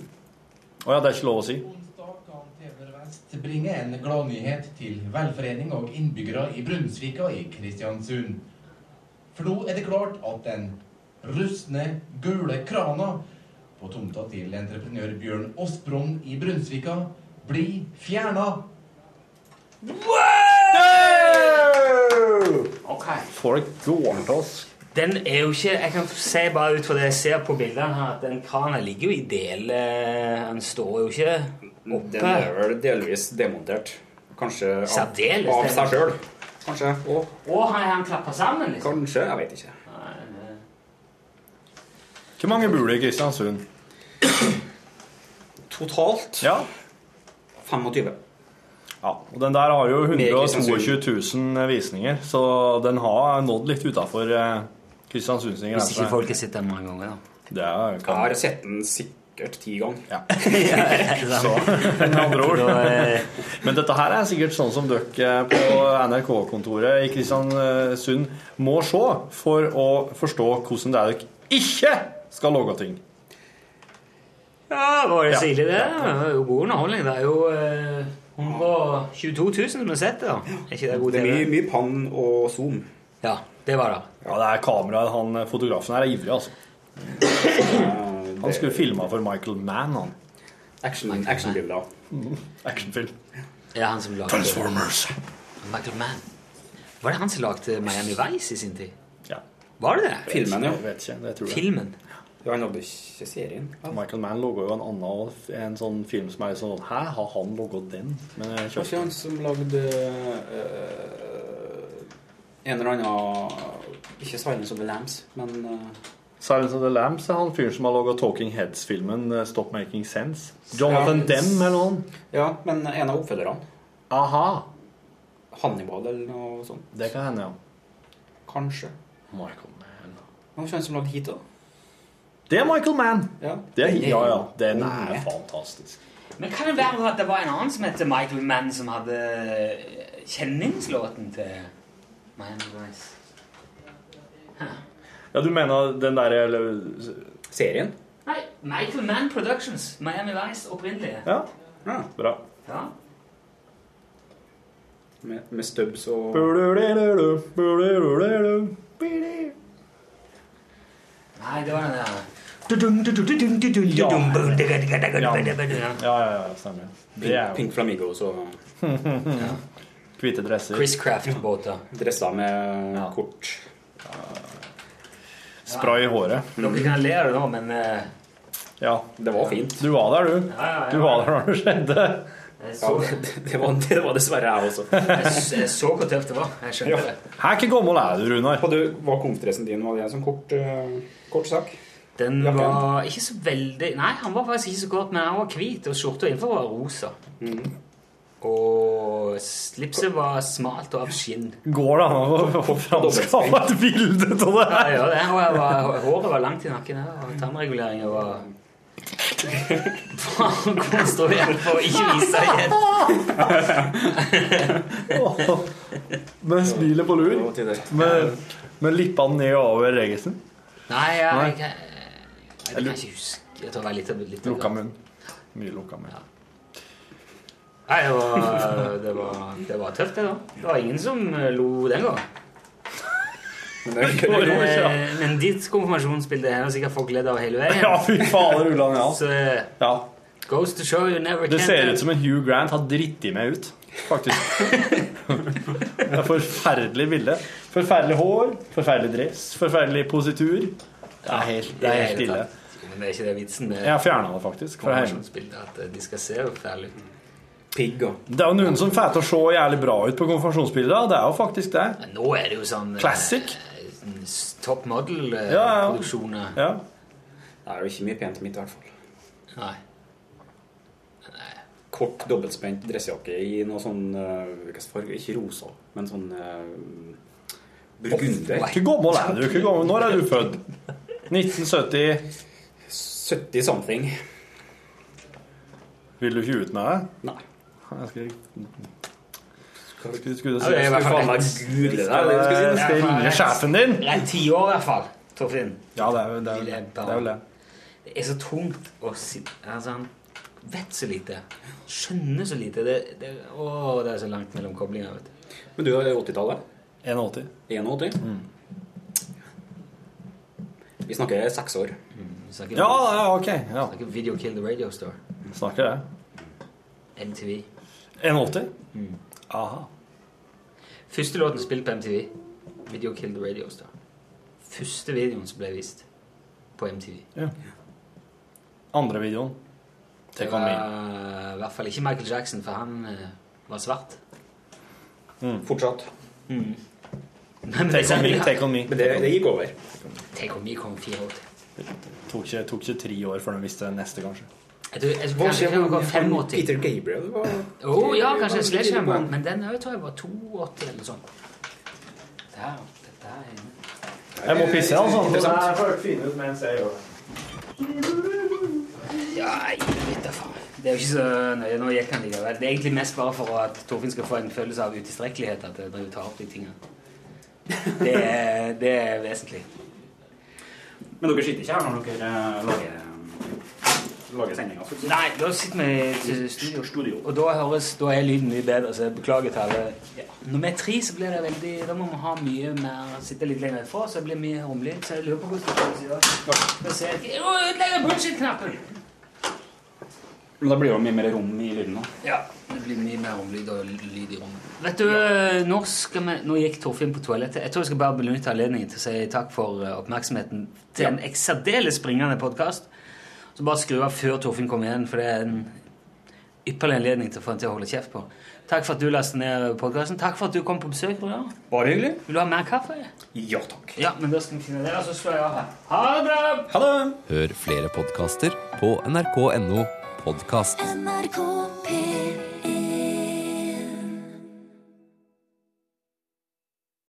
Speaker 4: Å ja, det er ikke lov å si.
Speaker 14: Onsdag kan TV Vest bringe en gladnyhet til velforening og innbyggere i Brunsvik og i Kristiansund. For nå er det klart at den rustne, gule krana på tomta til entreprenør Bjørn Åsbron i Brunsvika blir fjerna.
Speaker 4: Folk går til oss.
Speaker 2: Den er jo ikke Jeg kan si bare ut fra det jeg ser på bildene her, at den krana ligger jo i del eh, Den står jo ikke
Speaker 13: Den
Speaker 2: oppe.
Speaker 13: er vel delvis demontert. Kanskje av,
Speaker 2: Særdeles
Speaker 13: av seg
Speaker 2: demontert.
Speaker 13: sjøl. Kanskje. Og
Speaker 2: Å, har han klappa sammen, liksom?
Speaker 13: kanskje. Jeg vet ikke.
Speaker 4: Hvor mange bor det i Kristiansund?
Speaker 13: Totalt
Speaker 4: Ja.
Speaker 13: 25.
Speaker 4: ja. Og den der har jo
Speaker 13: Med
Speaker 4: 122
Speaker 13: Kristiansund.
Speaker 4: 000 visninger, så den har nådd litt utafor Kristiansunds
Speaker 2: Hvis ikke
Speaker 4: grense.
Speaker 2: folk har sett den mange ganger, da.
Speaker 4: altså. Det er,
Speaker 13: Jeg
Speaker 4: kan,
Speaker 13: har sett den sikkert ti ganger.
Speaker 4: så, med andre ord.
Speaker 2: Da, eh,
Speaker 4: Men dette her er sikkert sånn som dere på NRK-kontoret i Kristiansund må se for å forstå hvordan det er dere ikke skal lage ting.
Speaker 2: Ja, var det
Speaker 4: Ja.
Speaker 2: stilig, det? Det var jo god underholdning. Det er jo eh, 122 000 som har sett det. da. Er ikke det god
Speaker 13: Det er mye,
Speaker 2: TV?
Speaker 13: mye pann og zoom.
Speaker 2: Ja, det var det.
Speaker 4: Ja, det er kameraet han fotografen her er ivrig, altså. Han skulle filma for Michael Mann, han.
Speaker 13: Action- Actionbilder.
Speaker 4: Actionfilm.
Speaker 2: Det er han som lagde
Speaker 4: Transformers.
Speaker 2: Michael Mann. Var det han som lagde Miami Vice i sin tid?
Speaker 4: Ja.
Speaker 2: Var det det?
Speaker 13: Filmen,
Speaker 4: Jeg
Speaker 13: jo.
Speaker 4: vet ikke, det tror jeg.
Speaker 2: Filmen.
Speaker 13: Ja, Han hadde ikke serien.
Speaker 4: Michael Mann laga jo en annen en sånn film som er litt sånn Hæ, har han laga den? Men jeg
Speaker 13: Det var ikke
Speaker 4: kjøpte den.
Speaker 13: han som lagde eh, en eller annen Ikke 'Silence of the Lambs', men eh,
Speaker 4: Silence of the Lambs er han fyren som har laga Talking Heads-filmen eh, Stop Making Sense. Jonathan Dem eller noen.
Speaker 13: Ja, men en av oppfølgerne.
Speaker 4: Aha.
Speaker 13: Hannibal eller noe sånt.
Speaker 4: Det kan hende, ja.
Speaker 13: Kanskje.
Speaker 4: Michael Mann.
Speaker 13: Det var ikke han som lagde Heat, da.
Speaker 4: Det er Michael Mann!
Speaker 13: Ja.
Speaker 4: Det er, ja, ja. Den
Speaker 13: Konge.
Speaker 4: er fantastisk.
Speaker 2: Men kan det være at det var en annen som het Michael Mann, som hadde eh, kjenningslåten til Miami Vice?
Speaker 4: Ja, du mener den derre
Speaker 13: Serien?
Speaker 2: Nei, Michael Mann Productions. Miami Vice opprinnelig.
Speaker 4: Ja,
Speaker 13: Ja.
Speaker 4: bra.
Speaker 2: Ja.
Speaker 13: Med, med Stubbs og
Speaker 4: Bulululu, bulululu, bili.
Speaker 2: Nei, det var den der
Speaker 4: Ja. Ja, ja, ja, stemmer. Det er
Speaker 13: Pink,
Speaker 4: jo-
Speaker 13: Pink Flamingos og
Speaker 4: Hvite dresser.
Speaker 13: Chris
Speaker 2: Craft-båter.
Speaker 13: Dresser med kort.
Speaker 4: Spray i håret.
Speaker 2: Dere kan le av det nå, men eh,
Speaker 4: Ja.
Speaker 13: Det var fint.
Speaker 4: Du var der, du.
Speaker 2: Ja, ja, ja.
Speaker 4: Du var der da det skjedde.
Speaker 2: jeg
Speaker 13: Ja,
Speaker 2: så,
Speaker 13: det, det, var, det var dessverre jeg også.
Speaker 2: jeg, s- jeg så hvor tøft det var. Jeg skjønner det.
Speaker 4: Her, Hvor gammel er du, Runar?
Speaker 13: Og du, Var konfdressen din var det en sånn kort, eh, kort sak?
Speaker 2: Den
Speaker 13: Jakken?
Speaker 2: var ikke så veldig Nei, han var faktisk ikke så kort, men han var hvit, og skjorta innenfor var rosa. Mm. Og slipset var smalt og av skinn.
Speaker 4: Går det an å få framskaffa et bilde av det
Speaker 2: Ja,
Speaker 4: her?
Speaker 2: ja, det her var, håret var langt i nakken, her, og tannreguleringen var Faen, konstruert for å ikke vise igjen.
Speaker 4: Med smilet på lur? Med, med lippene ned over regisen?
Speaker 2: Nei, jeg,
Speaker 4: Nei.
Speaker 2: jeg, jeg, jeg kan ikke huske. Jeg tror det var litt, litt
Speaker 4: Lukka munn. Mye lukka munn.
Speaker 2: Nei, det var, det, var, det var tøft, det, da. Det var ingen som eh, lo den gangen. Men, eh, men ditt konfirmasjonsbilde har sikkert folk ledd av hele veien.
Speaker 4: Ja, fy fader, Ulland, ja.
Speaker 2: Så eh,
Speaker 4: Ja.
Speaker 2: goes to show you never
Speaker 4: Det
Speaker 2: can
Speaker 4: ser
Speaker 2: tell.
Speaker 4: ut som en Hugh Grant har dritt i meg ut, faktisk. Det er forferdelig bilde. Forferdelig hår, forferdelig dress, forferdelig positur. Det er helt, det er helt ille.
Speaker 2: Men det er ikke det vitsen med
Speaker 4: Jeg har fjerna det faktisk. Fra hjemme.
Speaker 2: konfirmasjonsbildet, at eh, de skal se forferdelig ut.
Speaker 13: Pigg og
Speaker 4: Det er jo noen som får til å se jævlig bra ut på konfirmasjonsbilder. Det er jo faktisk det.
Speaker 2: Nå er det jo sånn eh, sånn
Speaker 4: Classic.
Speaker 2: s- Top eh, model-produksjoner.
Speaker 4: Ja, ja.
Speaker 2: eh,
Speaker 4: Ja.
Speaker 13: Det er jo ikke mye pent i mitt, i hvert fall.
Speaker 2: Nei.
Speaker 13: Kort, dobbeltspent dressjakke i noe sånn eh, hvilken farge? Ikke rosa, men sånn uh, burgunder.
Speaker 4: Hvor gammel er du? Hvor gammel, når er du født? 1970.
Speaker 13: 70 something.
Speaker 4: Vil du ikke ut med det?
Speaker 13: Nei.
Speaker 4: Jeg skal
Speaker 13: Skal
Speaker 4: skulle- skulle
Speaker 2: Ja, det er i hvert fall
Speaker 13: faen meg
Speaker 2: rett.
Speaker 13: google det?
Speaker 4: Skal
Speaker 13: er det du skulle si?
Speaker 4: jeg- skal jeg ringe sjefen din?
Speaker 2: Rett ti år, i hvert fall. Torfinn.
Speaker 4: Ja, det er vel det. er vel-
Speaker 2: Lille
Speaker 4: Det er vel det.
Speaker 2: Det er så tungt å si Altså, han vet så lite. Skjønner så lite. Det, det, å, det er så langt mellom koblinger, vet du.
Speaker 13: Men du er 80-tallet?
Speaker 4: 81.
Speaker 13: 81? Vi snakker seks år.
Speaker 2: Vi snakker,
Speaker 4: Ja, ja, ok. Ja.
Speaker 2: snakker Video Kill the Radio Store.
Speaker 4: Snakker det.
Speaker 2: MTV.
Speaker 4: 81? Aha.
Speaker 2: Første låten spilt på MTV. Video Kill the Radio Store. Første videoen som ble vist på MTV.
Speaker 4: Andre videoen.
Speaker 2: Det
Speaker 4: Take on
Speaker 2: var
Speaker 4: me.
Speaker 2: i hvert fall ikke Michael Jackson, for han eh, var svart.
Speaker 13: Mm. Fortsatt.
Speaker 2: Men
Speaker 4: Take on me. Take on me.
Speaker 13: Men det, det gikk over.
Speaker 2: Take On Me kom i 84.
Speaker 4: Tok ikke, tok ikke tre år før de visste neste, kanskje.
Speaker 2: Jeg tror, jeg tror kanskje det var 85.
Speaker 13: Peter Gabriel var
Speaker 2: Å ja, kanskje Sledgehammer. Men den òg tror jeg var 82 eller noe sånt. Det her, dette her er
Speaker 4: Jeg må pisse, altså.
Speaker 2: Ja, jeg vet da faen. Det er jo ikke så nøye. Nå gikk han likevel. Det er egentlig mest bare for at Torfinn skal få en følelse av utilstrekkelighet. At jeg driver og tar opp de tingene. Det er, det er vesentlig.
Speaker 13: Men dere sitter ikke her når dere eh, lager, lager sendinga?
Speaker 2: Nei, da sitter vi i studio.
Speaker 13: Studio.
Speaker 2: Og da, høres, da er lyden mye bedre, så jeg beklager til alle. Ja. Når vi er tre, så blir det veldig Da må vi ha mye mer Sitte litt lenger ifra, så det blir mye romlig. Så jeg lurer på hvordan det blir. Skal vi se Å, Ødelegger bullshit-knappen!
Speaker 13: Men da blir det jo mye mer rom i lyden. da.
Speaker 2: Ja, det blir mye mer om lyd og lyd i rommet. Vet du, eh, nå, skal vi, nå gikk Torfinn på toalettet. Jeg tror jeg skal bare benytte anledningen til å si takk for eh, oppmerksomheten til en ek- særdeles springende podkast. Så bare skru av før Torfinn kommer igjen, for det er en ypperlig anledning til å få han til å holde kjeft på. Takk for at du lastet ned podkasten. Takk for at du kom på besøk. Roar.
Speaker 13: Bare hyggelig.
Speaker 2: Vil du ha mer kaffe?
Speaker 13: Ja takk.
Speaker 2: Ja, men da skal vi finne det, og så slår jeg av her. Ha det bra!
Speaker 13: Ha det!
Speaker 15: Hør flere podkaster på nrk.no podkast.
Speaker 16: NRK P1